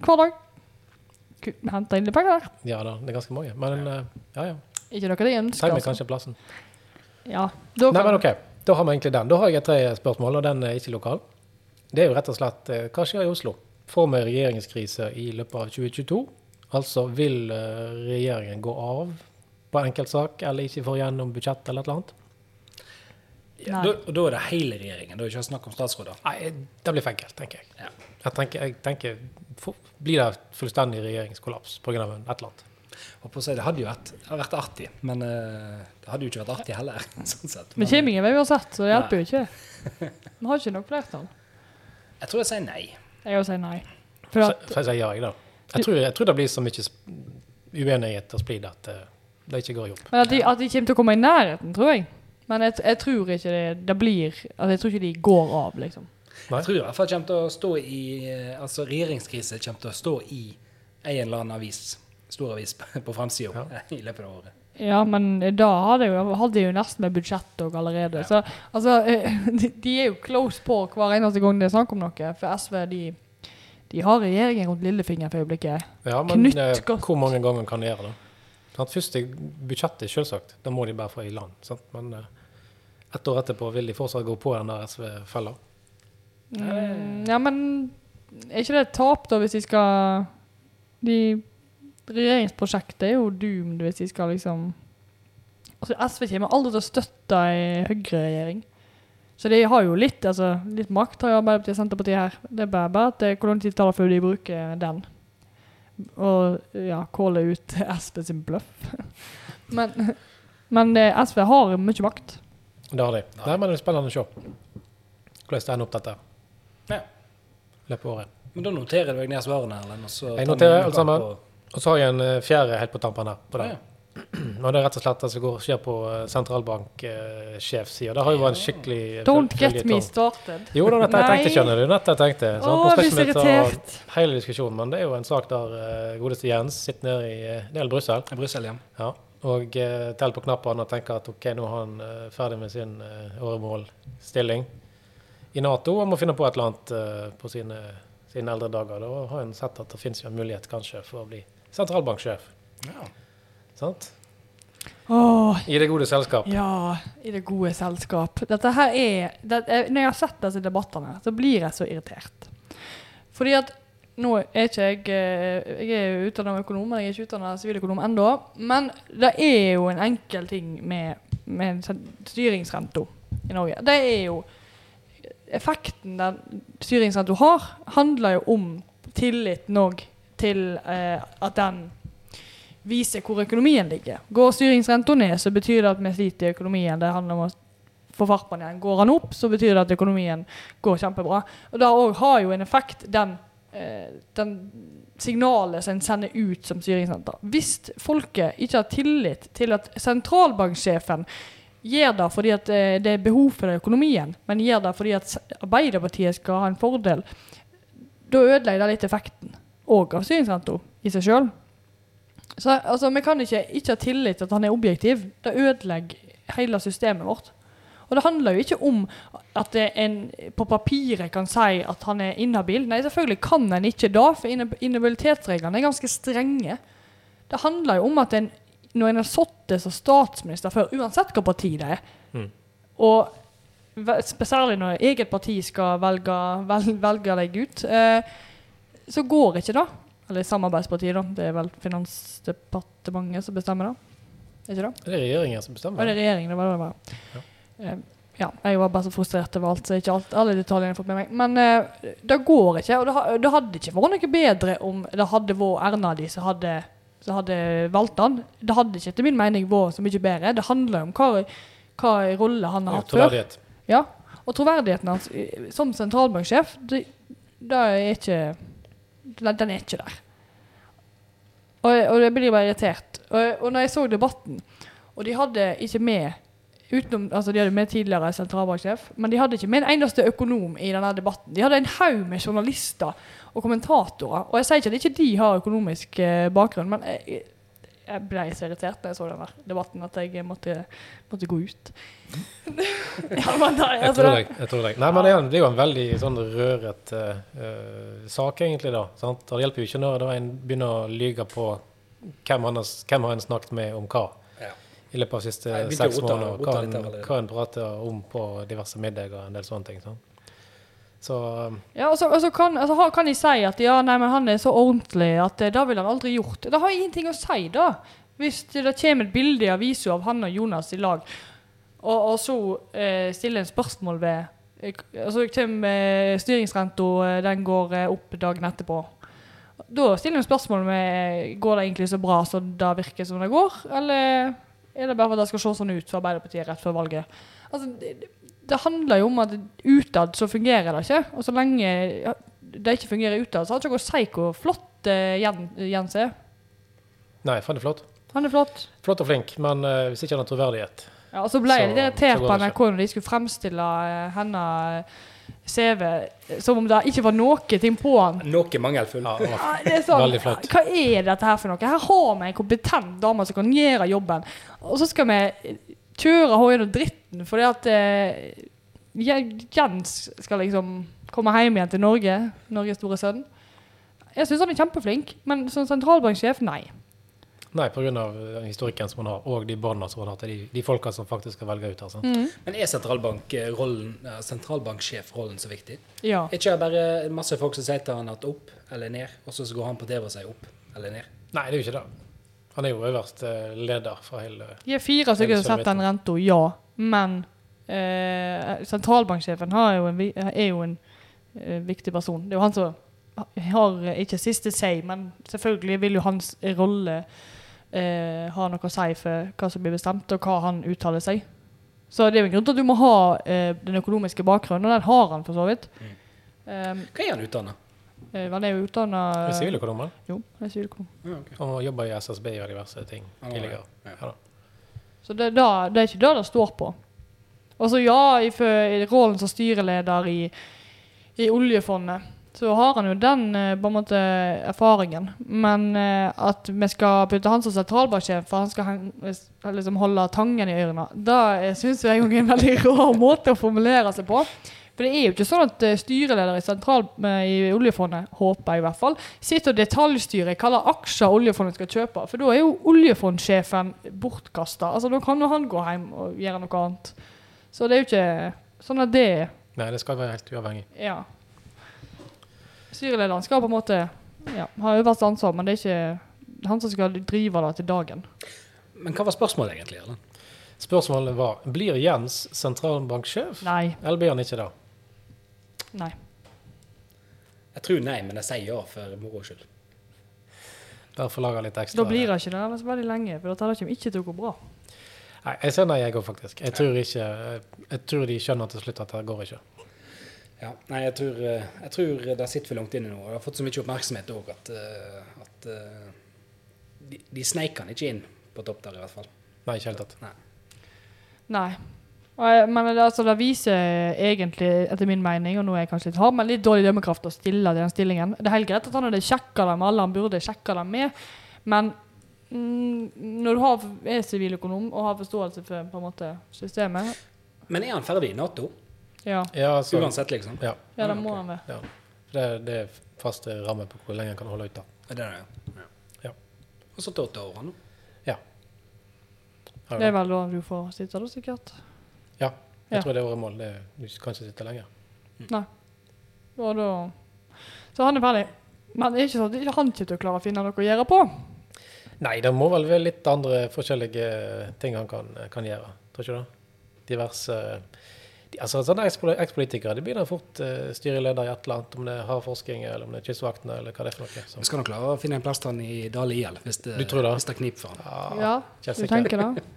[SPEAKER 2] hver dag? Ku- Henta inn litt penger der.
[SPEAKER 1] Ja da, det er ganske mange. Men eh, ja, ja.
[SPEAKER 2] Ikke noe det ønsker.
[SPEAKER 1] Trenger vi
[SPEAKER 2] altså.
[SPEAKER 1] kanskje plassen.
[SPEAKER 2] Ja. Da
[SPEAKER 1] Nei,
[SPEAKER 2] kan-
[SPEAKER 1] men ok, Da har vi egentlig den. Da har jeg et tredje spørsmål, og den er ikke lokal. Det er jo rett og slett eh, hva skjer i Oslo? Får vi regjeringskrise i løpet av 2022? Altså vil eh, regjeringen gå av på enkeltsak, eller ikke få gjennom budsjett eller et eller annet?
[SPEAKER 3] Ja,
[SPEAKER 2] Nei.
[SPEAKER 3] da, og da er det hele regjeringen. Da er det ikke snakk om statsråder.
[SPEAKER 1] Nei, det blir for enkelt, tenker jeg.
[SPEAKER 3] Ja.
[SPEAKER 1] Jeg tenker, jeg tenker for, Blir det fullstendig regjeringskollaps pga. et eller annet?
[SPEAKER 3] Og på å si, det hadde jo vært, det hadde vært artig, men eh, det hadde jo ikke vært artig heller. sånn sett.
[SPEAKER 2] Men
[SPEAKER 3] Men
[SPEAKER 2] Kimmingen er jo uansett, så det hjelper jo ikke. Vi har ikke nok flertall.
[SPEAKER 3] jeg tror jeg sier nei.
[SPEAKER 2] Jeg vil si nei. For
[SPEAKER 1] Så,
[SPEAKER 2] at,
[SPEAKER 1] så jeg sier ja, jeg, da. Jeg tror, jeg tror det blir så mye sp- uenighet og splid at eh, det ikke går i hop.
[SPEAKER 2] men at, de, at de kommer til å komme i nærheten, tror jeg. Men jeg, jeg tror ikke det, det blir altså Jeg tror ikke de går av, liksom.
[SPEAKER 1] Nei.
[SPEAKER 3] Jeg tror i hvert fall kommer til å stå i eh, altså regjeringskrise kommer til å stå i en eller annen avis, stor avis, på på fremsida i løpet av året.
[SPEAKER 2] Ja, men da hadde jo, hadde jo nesten med budsjett òg allerede. Så altså, eh, de, de er jo close på hver eneste gang det er snakk om noe. For SV, de, de har regjeringen rundt lillefingeren for øyeblikket.
[SPEAKER 1] Ja, men eh,
[SPEAKER 2] Knyttgodt.
[SPEAKER 1] hvor mange ganger kan de gjøre det? Sant? Først er budsjettet, selvsagt. Da må de bare få i land. Sant? Men eh, ett år etterpå vil de fortsatt gå på den der SV-fella.
[SPEAKER 2] Mm, ja, men er ikke det et tap, da, hvis de skal de, Regjeringsprosjektet er jo doomed hvis de skal liksom Altså, SV kommer aldri til å støtte ei Høyre-regjering. Så de har jo litt altså, litt makt har jo Arbeiderpartiet og Senterpartiet her. Det er bare, bare at det er hvor lang tid det tar før de bruker den. Og ja, calle ut SV sin bløff. men men eh, SV har mye makt.
[SPEAKER 1] Det har de. Nei, men det blir spennende å se hvordan det ender opp dette.
[SPEAKER 3] Ja.
[SPEAKER 1] I løpet av året.
[SPEAKER 3] Men da noterer du deg ned svarene, Erlend. og så
[SPEAKER 1] Jeg
[SPEAKER 3] tar
[SPEAKER 1] noterer
[SPEAKER 3] vi
[SPEAKER 1] alt
[SPEAKER 3] uka
[SPEAKER 1] sammen.
[SPEAKER 3] på-
[SPEAKER 1] Og så har jeg en eh, fjerde helt på tampen her. på
[SPEAKER 3] Ja,
[SPEAKER 1] den. Mm,
[SPEAKER 3] ja.
[SPEAKER 1] Og det er rett og slett det som går, skjer på sentralbanksjefsida. Det har jo vært en skikkelig eh,
[SPEAKER 2] Don't
[SPEAKER 1] føl-
[SPEAKER 2] get me
[SPEAKER 1] føljetong.
[SPEAKER 2] started.
[SPEAKER 1] Jo, det var dette jeg
[SPEAKER 2] Nei.
[SPEAKER 1] tenkte, skjønner du. Dette jeg tenkte.
[SPEAKER 2] Å,
[SPEAKER 1] Så, nå skal
[SPEAKER 2] jeg blir
[SPEAKER 1] ikke
[SPEAKER 2] så
[SPEAKER 1] vi ta
[SPEAKER 2] irritert.
[SPEAKER 1] hele diskusjonen, men det er jo en sak der eh, godeste Jens sitter nede i eh, det er vel Brussel
[SPEAKER 3] I Brussel igjen.
[SPEAKER 1] ja, og eh, teller på knappene og tenker at OK, nå er han eh, ferdig med sin eh, åremålstilling i Nato og må finne på et eller annet eh, på sine, sine eldre dager. Da har en sett at det finnes jo en mulighet kanskje for å bli sentralbanksjef.
[SPEAKER 3] Ja.
[SPEAKER 1] Sant?
[SPEAKER 2] Åh,
[SPEAKER 1] I det gode selskap.
[SPEAKER 2] Ja, i det gode selskap. Dette her er, det, eh, når jeg har sett disse debattene, så blir jeg så irritert. Fordi at nå er ikke jeg eh, Jeg er jo utdanna økonom, men jeg er ikke utdanna siviløkonom ennå. Men det er jo en enkel ting med, med sen- styringsrenta i Norge. Det er jo Effekten den styringsrenta har, handler jo om tilliten òg til eh, at den vise hvor økonomien ligger. Går styringsrenta ned, så betyr det at vi sliter i økonomien. Det handler om å få fart på den igjen. Går den opp, så betyr det at økonomien går kjempebra. Og det òg har jo en effekt, den, eh, den signalet som en sender ut som styringsrente. Hvis folket ikke har tillit til at sentralbanksjefen gjør det fordi at eh, det er behov for det i økonomien, men gjør det fordi at Arbeiderpartiet skal ha en fordel, da ødelegger det litt effekten òg av styringsrenta i seg sjøl. Så altså, vi kan ikke ikke ha tillit til at han er objektiv. Det ødelegger hele systemet vårt. Og det handler jo ikke om at det er en på papiret kan si at han er inhabil. Nei, selvfølgelig kan en ikke det, for inhab- inhabilitetsreglene er ganske strenge. Det handler jo om at en, når en har sittet som statsminister før, uansett hva parti det er,
[SPEAKER 1] Mm.
[SPEAKER 2] og ve- særlig når eget parti skal velge, vel, velge deg ut, eh, så går ikke det. Eller samarbeidspartiet, da. Det er vel Finansdepartementet som bestemmer det. Er ikke det?
[SPEAKER 1] Det er regjeringen som
[SPEAKER 2] Ja. Det
[SPEAKER 1] bestemmer.
[SPEAKER 2] er regjeringen, det var det det var.
[SPEAKER 1] Ja.
[SPEAKER 2] Eh, ja, jeg var bare så frustrert over alt, så ikke alt, alle detaljene har jeg fått med meg. Men eh, det går ikke, og det, ha- det hadde ikke vært noe bedre om det hadde vært Erna de som hadde, som hadde valgt han. Det hadde ikke etter min mening vært så mye bedre. Det handler jo om hva, hva rolle han har
[SPEAKER 1] Ja,
[SPEAKER 2] hatt før.
[SPEAKER 1] Troverdighet.
[SPEAKER 2] Ja, og troverdigheten hans eh, som sentralbanksjef, det, det er ikke den, den er ikke der. Og, og jeg blir bare irritert. Og, og når jeg så debatten, og de hadde ikke med utenom, altså De hadde med tidligere sentralbanksjef, men de hadde ikke med en eneste økonom i denne debatten. De hadde en haug med journalister og kommentatorer. Og jeg sier ikke at ikke de har økonomisk eh, bakgrunn, men jeg, jeg ble så irritert når jeg så denne debatten at jeg måtte, måtte gå ut. ja, men
[SPEAKER 1] Mhm.
[SPEAKER 2] da,
[SPEAKER 1] Jeg
[SPEAKER 2] altså,
[SPEAKER 1] tror
[SPEAKER 2] da-
[SPEAKER 1] deg. jeg tror deg. Nei, men det er en- det er jo en veldig sånn røret eh, eh, sak, egentlig, da. Sant? Og Det hjelper jo ikke når da en begynner å lyge på hvem, han har, s- hvem har en snakket med om hva
[SPEAKER 3] Ja.
[SPEAKER 1] i løpet av de siste
[SPEAKER 3] Nei, jeg begynte
[SPEAKER 1] seks
[SPEAKER 3] å rota-
[SPEAKER 1] måneder.
[SPEAKER 3] rota
[SPEAKER 1] Hva
[SPEAKER 3] litt her
[SPEAKER 1] en,
[SPEAKER 3] allerede.
[SPEAKER 1] hva en prater om på diverse middager og en del sånne ting. Sant? Så um,
[SPEAKER 2] Ja, og så, og så kan, altså, ha- kan de si at ja, nei, men han er så ordentlig at eh, det ville han aldri gjort. Det har ingenting å si, da. Hvis det det kommer et bilde i avisa av han og Jonas i lag, og, og så eh, stiller en spørsmål ved eh, k- Og så kommer eh, styringsrenta, eh, den går eh, opp dagen etterpå. Da stiller en spørsmål med eh, Går det egentlig så bra som det virker som det går, eller er det bare for at det skal se sånn ut for Arbeiderpartiet rett før valget? Altså, det- det handler jo om at utad så fungerer det ikke. Og så lenge ja, det ikke fungerer utad, så har det ikke noe å si hvor flott eh, Jen- Jens er.
[SPEAKER 1] Nei, faen, det er flott.
[SPEAKER 2] Han er flott.
[SPEAKER 1] Flott og flink, men eh, hvis ikke han har troverdighet
[SPEAKER 2] Ja, og så ble
[SPEAKER 1] Så-
[SPEAKER 2] jeg litt irritert
[SPEAKER 1] så går
[SPEAKER 2] på
[SPEAKER 1] det
[SPEAKER 2] NRK når de skulle fremstille eh, henne CV som om det ikke var noe ting på han.
[SPEAKER 3] Noe mangelfull.
[SPEAKER 1] Ja, og-
[SPEAKER 2] Ja, det er sånn,
[SPEAKER 1] Veldig flott.
[SPEAKER 2] hva er dette her for noe? Her har vi en kompetent dame som kan gjøre jobben, og så skal vi kjøre henne gjennom dritten fordi at eh, Je- Jens skal liksom komme hjem igjen til Norge, Norges store sønn. Jeg syns han er kjempeflink, men som sentralbanksjef, nei.
[SPEAKER 1] Nei, pga. historikken som han har, og de båndene som han har til de, de folka som faktisk skal velge ut her. Sant?
[SPEAKER 3] Men er sentralbankrollen, eh, sentralbanksjefrollen så viktig?
[SPEAKER 2] Ja.
[SPEAKER 3] Er ikke det bare masse folk som sier til han at opp eller ned, og så går han på TV og sier opp eller ned?
[SPEAKER 1] Nei, det er jo ikke det. Han er jo øverste eh, leder for hele
[SPEAKER 2] De er fire stykker
[SPEAKER 1] Ellers er
[SPEAKER 2] som
[SPEAKER 1] det
[SPEAKER 2] setter den renta, ja. Men eh, sentralbanksjefen har jo en, vi- er jo en eh, viktig person. Det er jo han som har eh, ikke siste si, men selvfølgelig vil jo hans rolle eh, ha noe å si for hva som blir bestemt, og hva han uttaler seg. Så det er jo en grunn til at du må ha eh, den økonomiske bakgrunnen, og den har han for så vidt. Um,
[SPEAKER 3] Hva er han utdanna?
[SPEAKER 2] eh, han er jo utdanna
[SPEAKER 1] Det er Siviløkonomen.
[SPEAKER 2] Jo, han er siviløkonom.
[SPEAKER 3] Ja, ok.
[SPEAKER 1] Han jobber i SSB og diverse ting
[SPEAKER 3] Ja,
[SPEAKER 1] tidligere.
[SPEAKER 3] ja.
[SPEAKER 1] Ja, da.
[SPEAKER 2] Så det, er da, det er ikke det det står på. Og så ja, i, fø- i rollen som styreleder i, i oljefondet, så har han jo den eh, på en måte erfaringen. Men eh, at vi skal putte han som sentralbanksjef, for han skal heng, s- liksom holde tangen i ørene, det syns jeg er en veldig rar måte å formulere seg på. For det er jo ikke sånn at eh, styreleder i, sentral, eh, i oljefondet, håper jeg i hvert fall, sitter og detaljstyrer hva slags aksjer oljefondet skal kjøpe. For da er jo oljefondsjefen bortkasta. Altså, da kan jo han gå hjem og gjøre noe annet. Så det er jo ikke sånn at det
[SPEAKER 1] Nei, det skal være helt uavhengig.
[SPEAKER 2] Ja. Styrelederen skal på en måte ja, ha øverste ansvar, men det er ikke han som skal drive det til dagen.
[SPEAKER 3] Men hva var spørsmålet egentlig? Erlend?
[SPEAKER 1] Spørsmålet var blir Jens sentralbanksjef,
[SPEAKER 2] Nei.
[SPEAKER 1] eller blir han ikke det?
[SPEAKER 2] Nei.
[SPEAKER 3] Jeg tror nei, men jeg sier ja for moro skyld.
[SPEAKER 1] Derfor lager jeg litt ekstra.
[SPEAKER 2] Da blir det ikke det ellers veldig lenge, for dette kommer ikke til å gå bra.
[SPEAKER 1] Nei, jeg ser nei, jeg òg, faktisk. Jeg tror, ikke, jeg, jeg tror de skjønner til slutt at det går ikke.
[SPEAKER 3] Ja, nei, jeg tror, eh, jeg tror det sitter for langt inne nå. og Det har fått så mye oppmerksomhet òg at, eh, at eh, de, de sneik han ikke inn på topp der, i hvert fall.
[SPEAKER 1] Nei, ikke helt tatt.
[SPEAKER 2] Nei. Og jeg- Men det, altså, det viser egentlig, etter min mening, og nå er jeg kanskje litt hard, men litt dårlig dømmekraft å stille til den stillingen. Det er helt greit at han hadde sjekka dem med alle han burde sjekka dem med, men mm, når du har, er siviløkonom og har forståelse for på en måte, systemet
[SPEAKER 3] Men er han ferdig i Nato?
[SPEAKER 2] Ja,
[SPEAKER 1] Ja, så,
[SPEAKER 3] Uansett, liksom.
[SPEAKER 1] ja,
[SPEAKER 2] ja det
[SPEAKER 3] Ah,
[SPEAKER 2] må
[SPEAKER 3] ok.
[SPEAKER 2] han være.
[SPEAKER 1] ja. Det, det er faste rammer på hvor lenge en kan holde ut. da.
[SPEAKER 3] Ja, Det er det,
[SPEAKER 1] Ja.
[SPEAKER 3] Og så til åtte år han nå.
[SPEAKER 1] Ja,
[SPEAKER 2] Det er vel da du får sitte, da, sikkert.
[SPEAKER 1] Ja.
[SPEAKER 2] Ja.
[SPEAKER 1] Jeg tror det er året mål. Det, du kan ikke sitte lenger.
[SPEAKER 2] Og da Så han er ferdig. Men det er ikke sånn at ikke han kommer til å klare å finne noe å gjøre på.
[SPEAKER 1] Nei, det må vel være litt andre forskjellige ting han kan, kan gjøre. Tror ikke du det? Diverse de, Altså, sånne ekspol- ekspolitikere de blir da fort eh, styreleder i et eller annet, om det er havforsking, eller om det er kystvaktene, eller hva det er for noe. Så.
[SPEAKER 3] Vi skal nok klare å finne en plass til han i Dale IL hvis det,
[SPEAKER 1] Du tror det?
[SPEAKER 3] hvis det kniper for han.
[SPEAKER 1] Ja,
[SPEAKER 2] Ja,
[SPEAKER 1] ikke
[SPEAKER 2] du
[SPEAKER 1] sikkert.
[SPEAKER 2] tenker det?
[SPEAKER 1] Ah,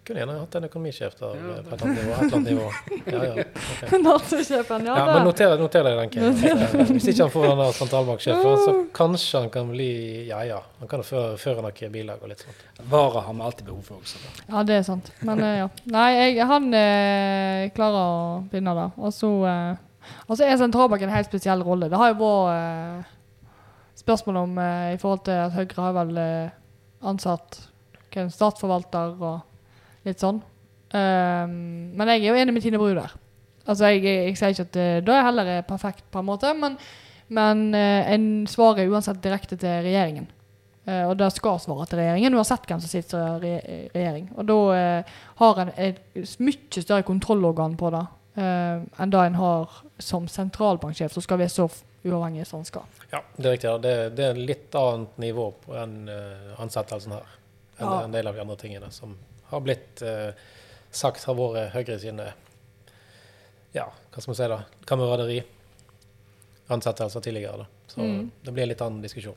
[SPEAKER 1] Kunne gjerne hatt en økonomisjef der,
[SPEAKER 3] Ja,
[SPEAKER 1] eh, på et annet nivå. Et eller annet nivå. Ja, ja. ok.
[SPEAKER 2] Nato-sjefen,
[SPEAKER 1] ja, men
[SPEAKER 2] ja. det-
[SPEAKER 1] noter, noter deg den, Kim. Eh, Hvis ikke han får den der sentralbanksjefen, så kanskje han kan bli Ja, ja. Han kan jo føre, føre noe bilag og litt sånn. sånt.
[SPEAKER 3] Varer har vi alltid behov for også. da.
[SPEAKER 2] Ja, det er sant. Men eh, ja. Nei, jeg, han eh, klarer å vinne det. Og så eh, og så er sentralbanken en helt spesiell rolle. Det har jo vært eh, spørsmål om eh, i forhold til at Høyre har vel eh, ansatt hva er det, en statsforvalter og litt sånn. Ehm, men jeg er jo enig med Tine Bru der. Altså, jeg, jeg, jeg sier ikke at eh, det heller er perfekt, på en måte, men, men eh, en svarer uansett direkte til regjeringen. Eh, og det skal svare til regjeringen, uansett hvem som sitter i re regjering. Og da eh, har en et mye større kontrollorgan på det eh, enn det en har som sentralbanksjef, som skal være så f- uavhengig som han skal.
[SPEAKER 1] Ja, det er riktig. ja. Det, det er litt annet nivå på den eh, ansettelsen her enn
[SPEAKER 2] Ja.
[SPEAKER 1] en del av de andre tingene som har blitt eh, sagt har vært Høyre sine ja, hva skal man si da, kameraderi. Ansettelser tidligere, da. Så
[SPEAKER 2] Mm.
[SPEAKER 1] det blir en litt annen diskusjon.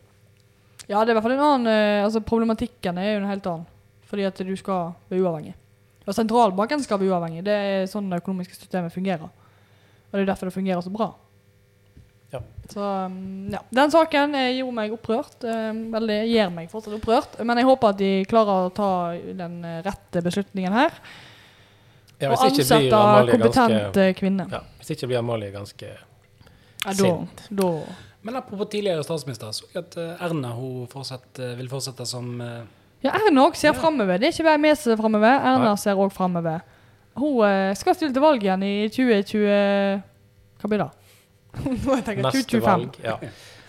[SPEAKER 2] Ja, det er i hvert fall en annen eh, Altså, problematikken er jo en helt annen. Fordi at du skal være uavhengig. Og sentralbanken skal være uavhengig. Det er sånn det økonomiske systemet fungerer. Og det er derfor det fungerer så bra.
[SPEAKER 1] Ja.
[SPEAKER 2] Så um, ja. Den saken eh, gjorde meg opprørt. eh, Vel, det gjør meg fortsatt opprørt. Men jeg håper at de klarer å ta den eh, rette beslutningen her.
[SPEAKER 1] Ja,
[SPEAKER 2] og
[SPEAKER 1] hvis ikke blir
[SPEAKER 2] ansette
[SPEAKER 1] Amalie
[SPEAKER 2] kompetente
[SPEAKER 1] ganske-
[SPEAKER 2] kvinner.
[SPEAKER 1] Ja, hvis ikke blir Amalie ganske
[SPEAKER 2] Ja, da,
[SPEAKER 1] sint.
[SPEAKER 2] da
[SPEAKER 3] Men apropos tidligere statsminister, så jeg at eh, Erna hun fortsatt, eh, vil fortsette som eh,
[SPEAKER 2] Ja, Erna òg ser framover. Det er ikke bare vi som ser framover. Erna
[SPEAKER 1] Nei.
[SPEAKER 2] ser òg framover. Hun eh, skal stille til valg igjen i 2020 Hva blir det? Nå tenker jeg
[SPEAKER 1] neste
[SPEAKER 2] 2025.
[SPEAKER 1] valg. Ja.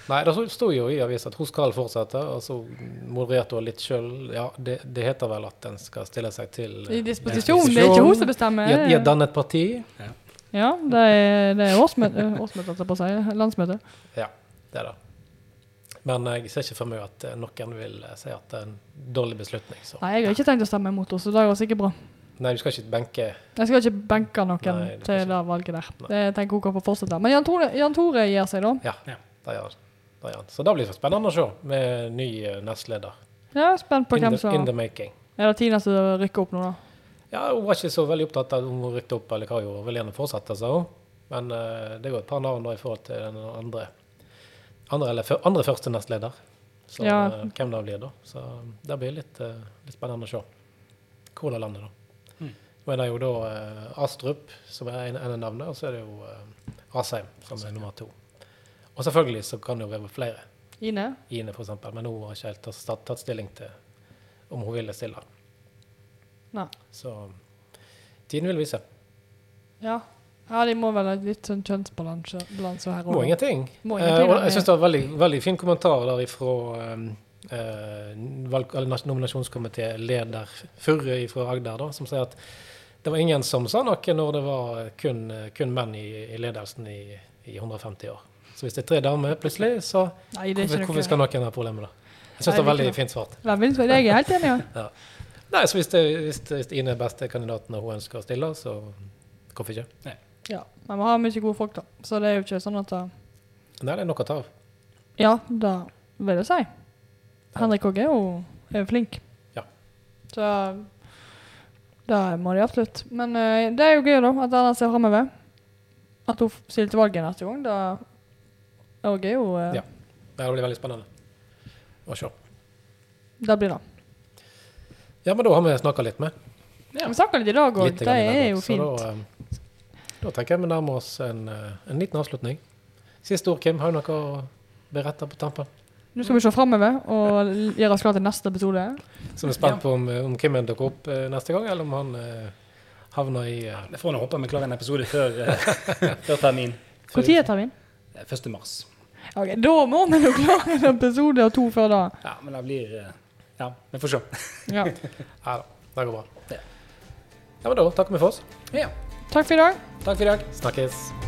[SPEAKER 1] Nei, det sto jo i avisen at hun skal fortsette, og så modererte hun litt sjøl. Ja, det, det heter vel at en skal stille seg til
[SPEAKER 2] I disposisjon. Det er ikke hun som bestemmer.
[SPEAKER 1] I, i et dannet parti.
[SPEAKER 2] Ja, det er, det er årsmøte, eh, årsmøte, holdt jeg på å si. Landsmøte.
[SPEAKER 1] Ja, det er det. Men jeg ser ikke for meg at eh, noen vil eh, si at det er en dårlig beslutning. Så.
[SPEAKER 2] Nei, jeg har ikke tenkt å stemme imot henne, så det går sikkert bra.
[SPEAKER 1] Nei, du skal ikke benke
[SPEAKER 2] Jeg skal ikke benke noen
[SPEAKER 1] Nei, det er
[SPEAKER 2] til
[SPEAKER 1] ikke-
[SPEAKER 2] det valget der.
[SPEAKER 1] Nei.
[SPEAKER 2] Det tenker hun kan få fortsette. Men Jan Tore, Jan Tore gir seg, da.
[SPEAKER 1] Ja,
[SPEAKER 3] Ja.
[SPEAKER 1] det gjør han. Det gjør han. Så det blir så spennende å se med ny eh, nestleder.
[SPEAKER 2] Jeg er spent på
[SPEAKER 1] In
[SPEAKER 2] hvem
[SPEAKER 1] the, in
[SPEAKER 2] som
[SPEAKER 1] the making.
[SPEAKER 2] Er det Tina som rykker opp nå, da?
[SPEAKER 1] Ja, hun var ikke så veldig opptatt av om hun rykte opp eller hva hun gjorde. Hun Vil gjerne fortsette, sa hun. Men eh, det går et par navn da i forhold til den andre, andre, eller, fø- andre første nestleder. Så
[SPEAKER 2] Ja.
[SPEAKER 1] eh, hvem det blir da. Så det blir litt, eh, litt spennende å se hvor det lander da. Nå er det jo da eh, Astrup som er en, en av navnene, og så er det jo eh, Asheim som er nummer to. Og selvfølgelig så kan det jo være flere.
[SPEAKER 2] Ine?
[SPEAKER 1] Ine for eksempel, men hun har ikke helt tatt, tatt stilling til om hun ville stille.
[SPEAKER 2] Nei.
[SPEAKER 1] Så tiden vil vise.
[SPEAKER 2] Ja. ja, de må vel ha litt sånn kjønnsbalanse balanse her
[SPEAKER 1] Må
[SPEAKER 2] òg.
[SPEAKER 1] ingenting.
[SPEAKER 2] Må ingenting,
[SPEAKER 1] Eh, og
[SPEAKER 2] da,
[SPEAKER 1] jeg syns det var veldig, veldig fin kommentar der ifra eh, eh, valg- eller nas- nominasjonskomitéleder Furre fra Agder, da, som sier at det var ingen som sa noe når det var kun, kun menn i, i ledelsen i, i 150 år. Så hvis det er tre damer plutselig, så
[SPEAKER 2] Nei, det
[SPEAKER 1] hvorfor,
[SPEAKER 2] er ikke
[SPEAKER 1] hvorfor
[SPEAKER 2] noe.
[SPEAKER 1] skal noen ha problemer da? Jeg
[SPEAKER 2] Nei,
[SPEAKER 1] syns det var
[SPEAKER 2] det er
[SPEAKER 1] veldig
[SPEAKER 2] ikke
[SPEAKER 1] fint svart.
[SPEAKER 2] Nei, men Jeg er helt enig. Ja.
[SPEAKER 1] Nei, så hvis, det, hvis, hvis Ine er beste kandidaten og hun ønsker å stille, så hvorfor ikke?
[SPEAKER 2] ja. Men vi har mye gode folk, da. Så det er jo ikke sånn at det-
[SPEAKER 1] Nei, det er nok å ta av.
[SPEAKER 2] Ja, det vil jeg si. Henrik òg er jo er jo flink.
[SPEAKER 1] Ja.
[SPEAKER 2] Så det må de absolutt. Men eh, det er jo gøy, da, at Erna ser framover. At hun f- stiller til valget neste gang. Det òg er jo eh,
[SPEAKER 1] Ja. Nei, Det blir veldig spennende å se.
[SPEAKER 2] Det blir det.
[SPEAKER 1] Ja, men da har vi snakka litt med.
[SPEAKER 2] Vi snakka litt i dag òg.
[SPEAKER 1] Litt
[SPEAKER 2] Det
[SPEAKER 1] grann i
[SPEAKER 2] er
[SPEAKER 1] dag,
[SPEAKER 2] jo
[SPEAKER 1] så
[SPEAKER 2] fint.
[SPEAKER 1] Da, eh, da tenker jeg vi nærmer oss en, eh, en liten avslutning. Siste ord, Kim. Har du noe å berette på tampen?
[SPEAKER 2] Nå skal vi se framover og l- gjøre oss klar til neste episode.
[SPEAKER 1] Så vi er spent på om, eh, om Kim dukker opp eh, neste gang, eller om han eh, havner i eh,
[SPEAKER 3] Jeg får nå håpe vi klarer en episode før, eh, før termin.
[SPEAKER 2] Når er termin?
[SPEAKER 3] Eh, 1. mars.
[SPEAKER 2] Ok, Da må vi jo klare en episode og to før da.
[SPEAKER 3] Ja, men det blir eh, Ja, vi får se.
[SPEAKER 2] Ja.
[SPEAKER 1] Nei da, det går bra.
[SPEAKER 3] Ja.
[SPEAKER 1] Ja, men Da takker vi for oss.
[SPEAKER 3] Ja.
[SPEAKER 2] Takk for i dag.
[SPEAKER 3] Takk for i dag.
[SPEAKER 1] Snakkes.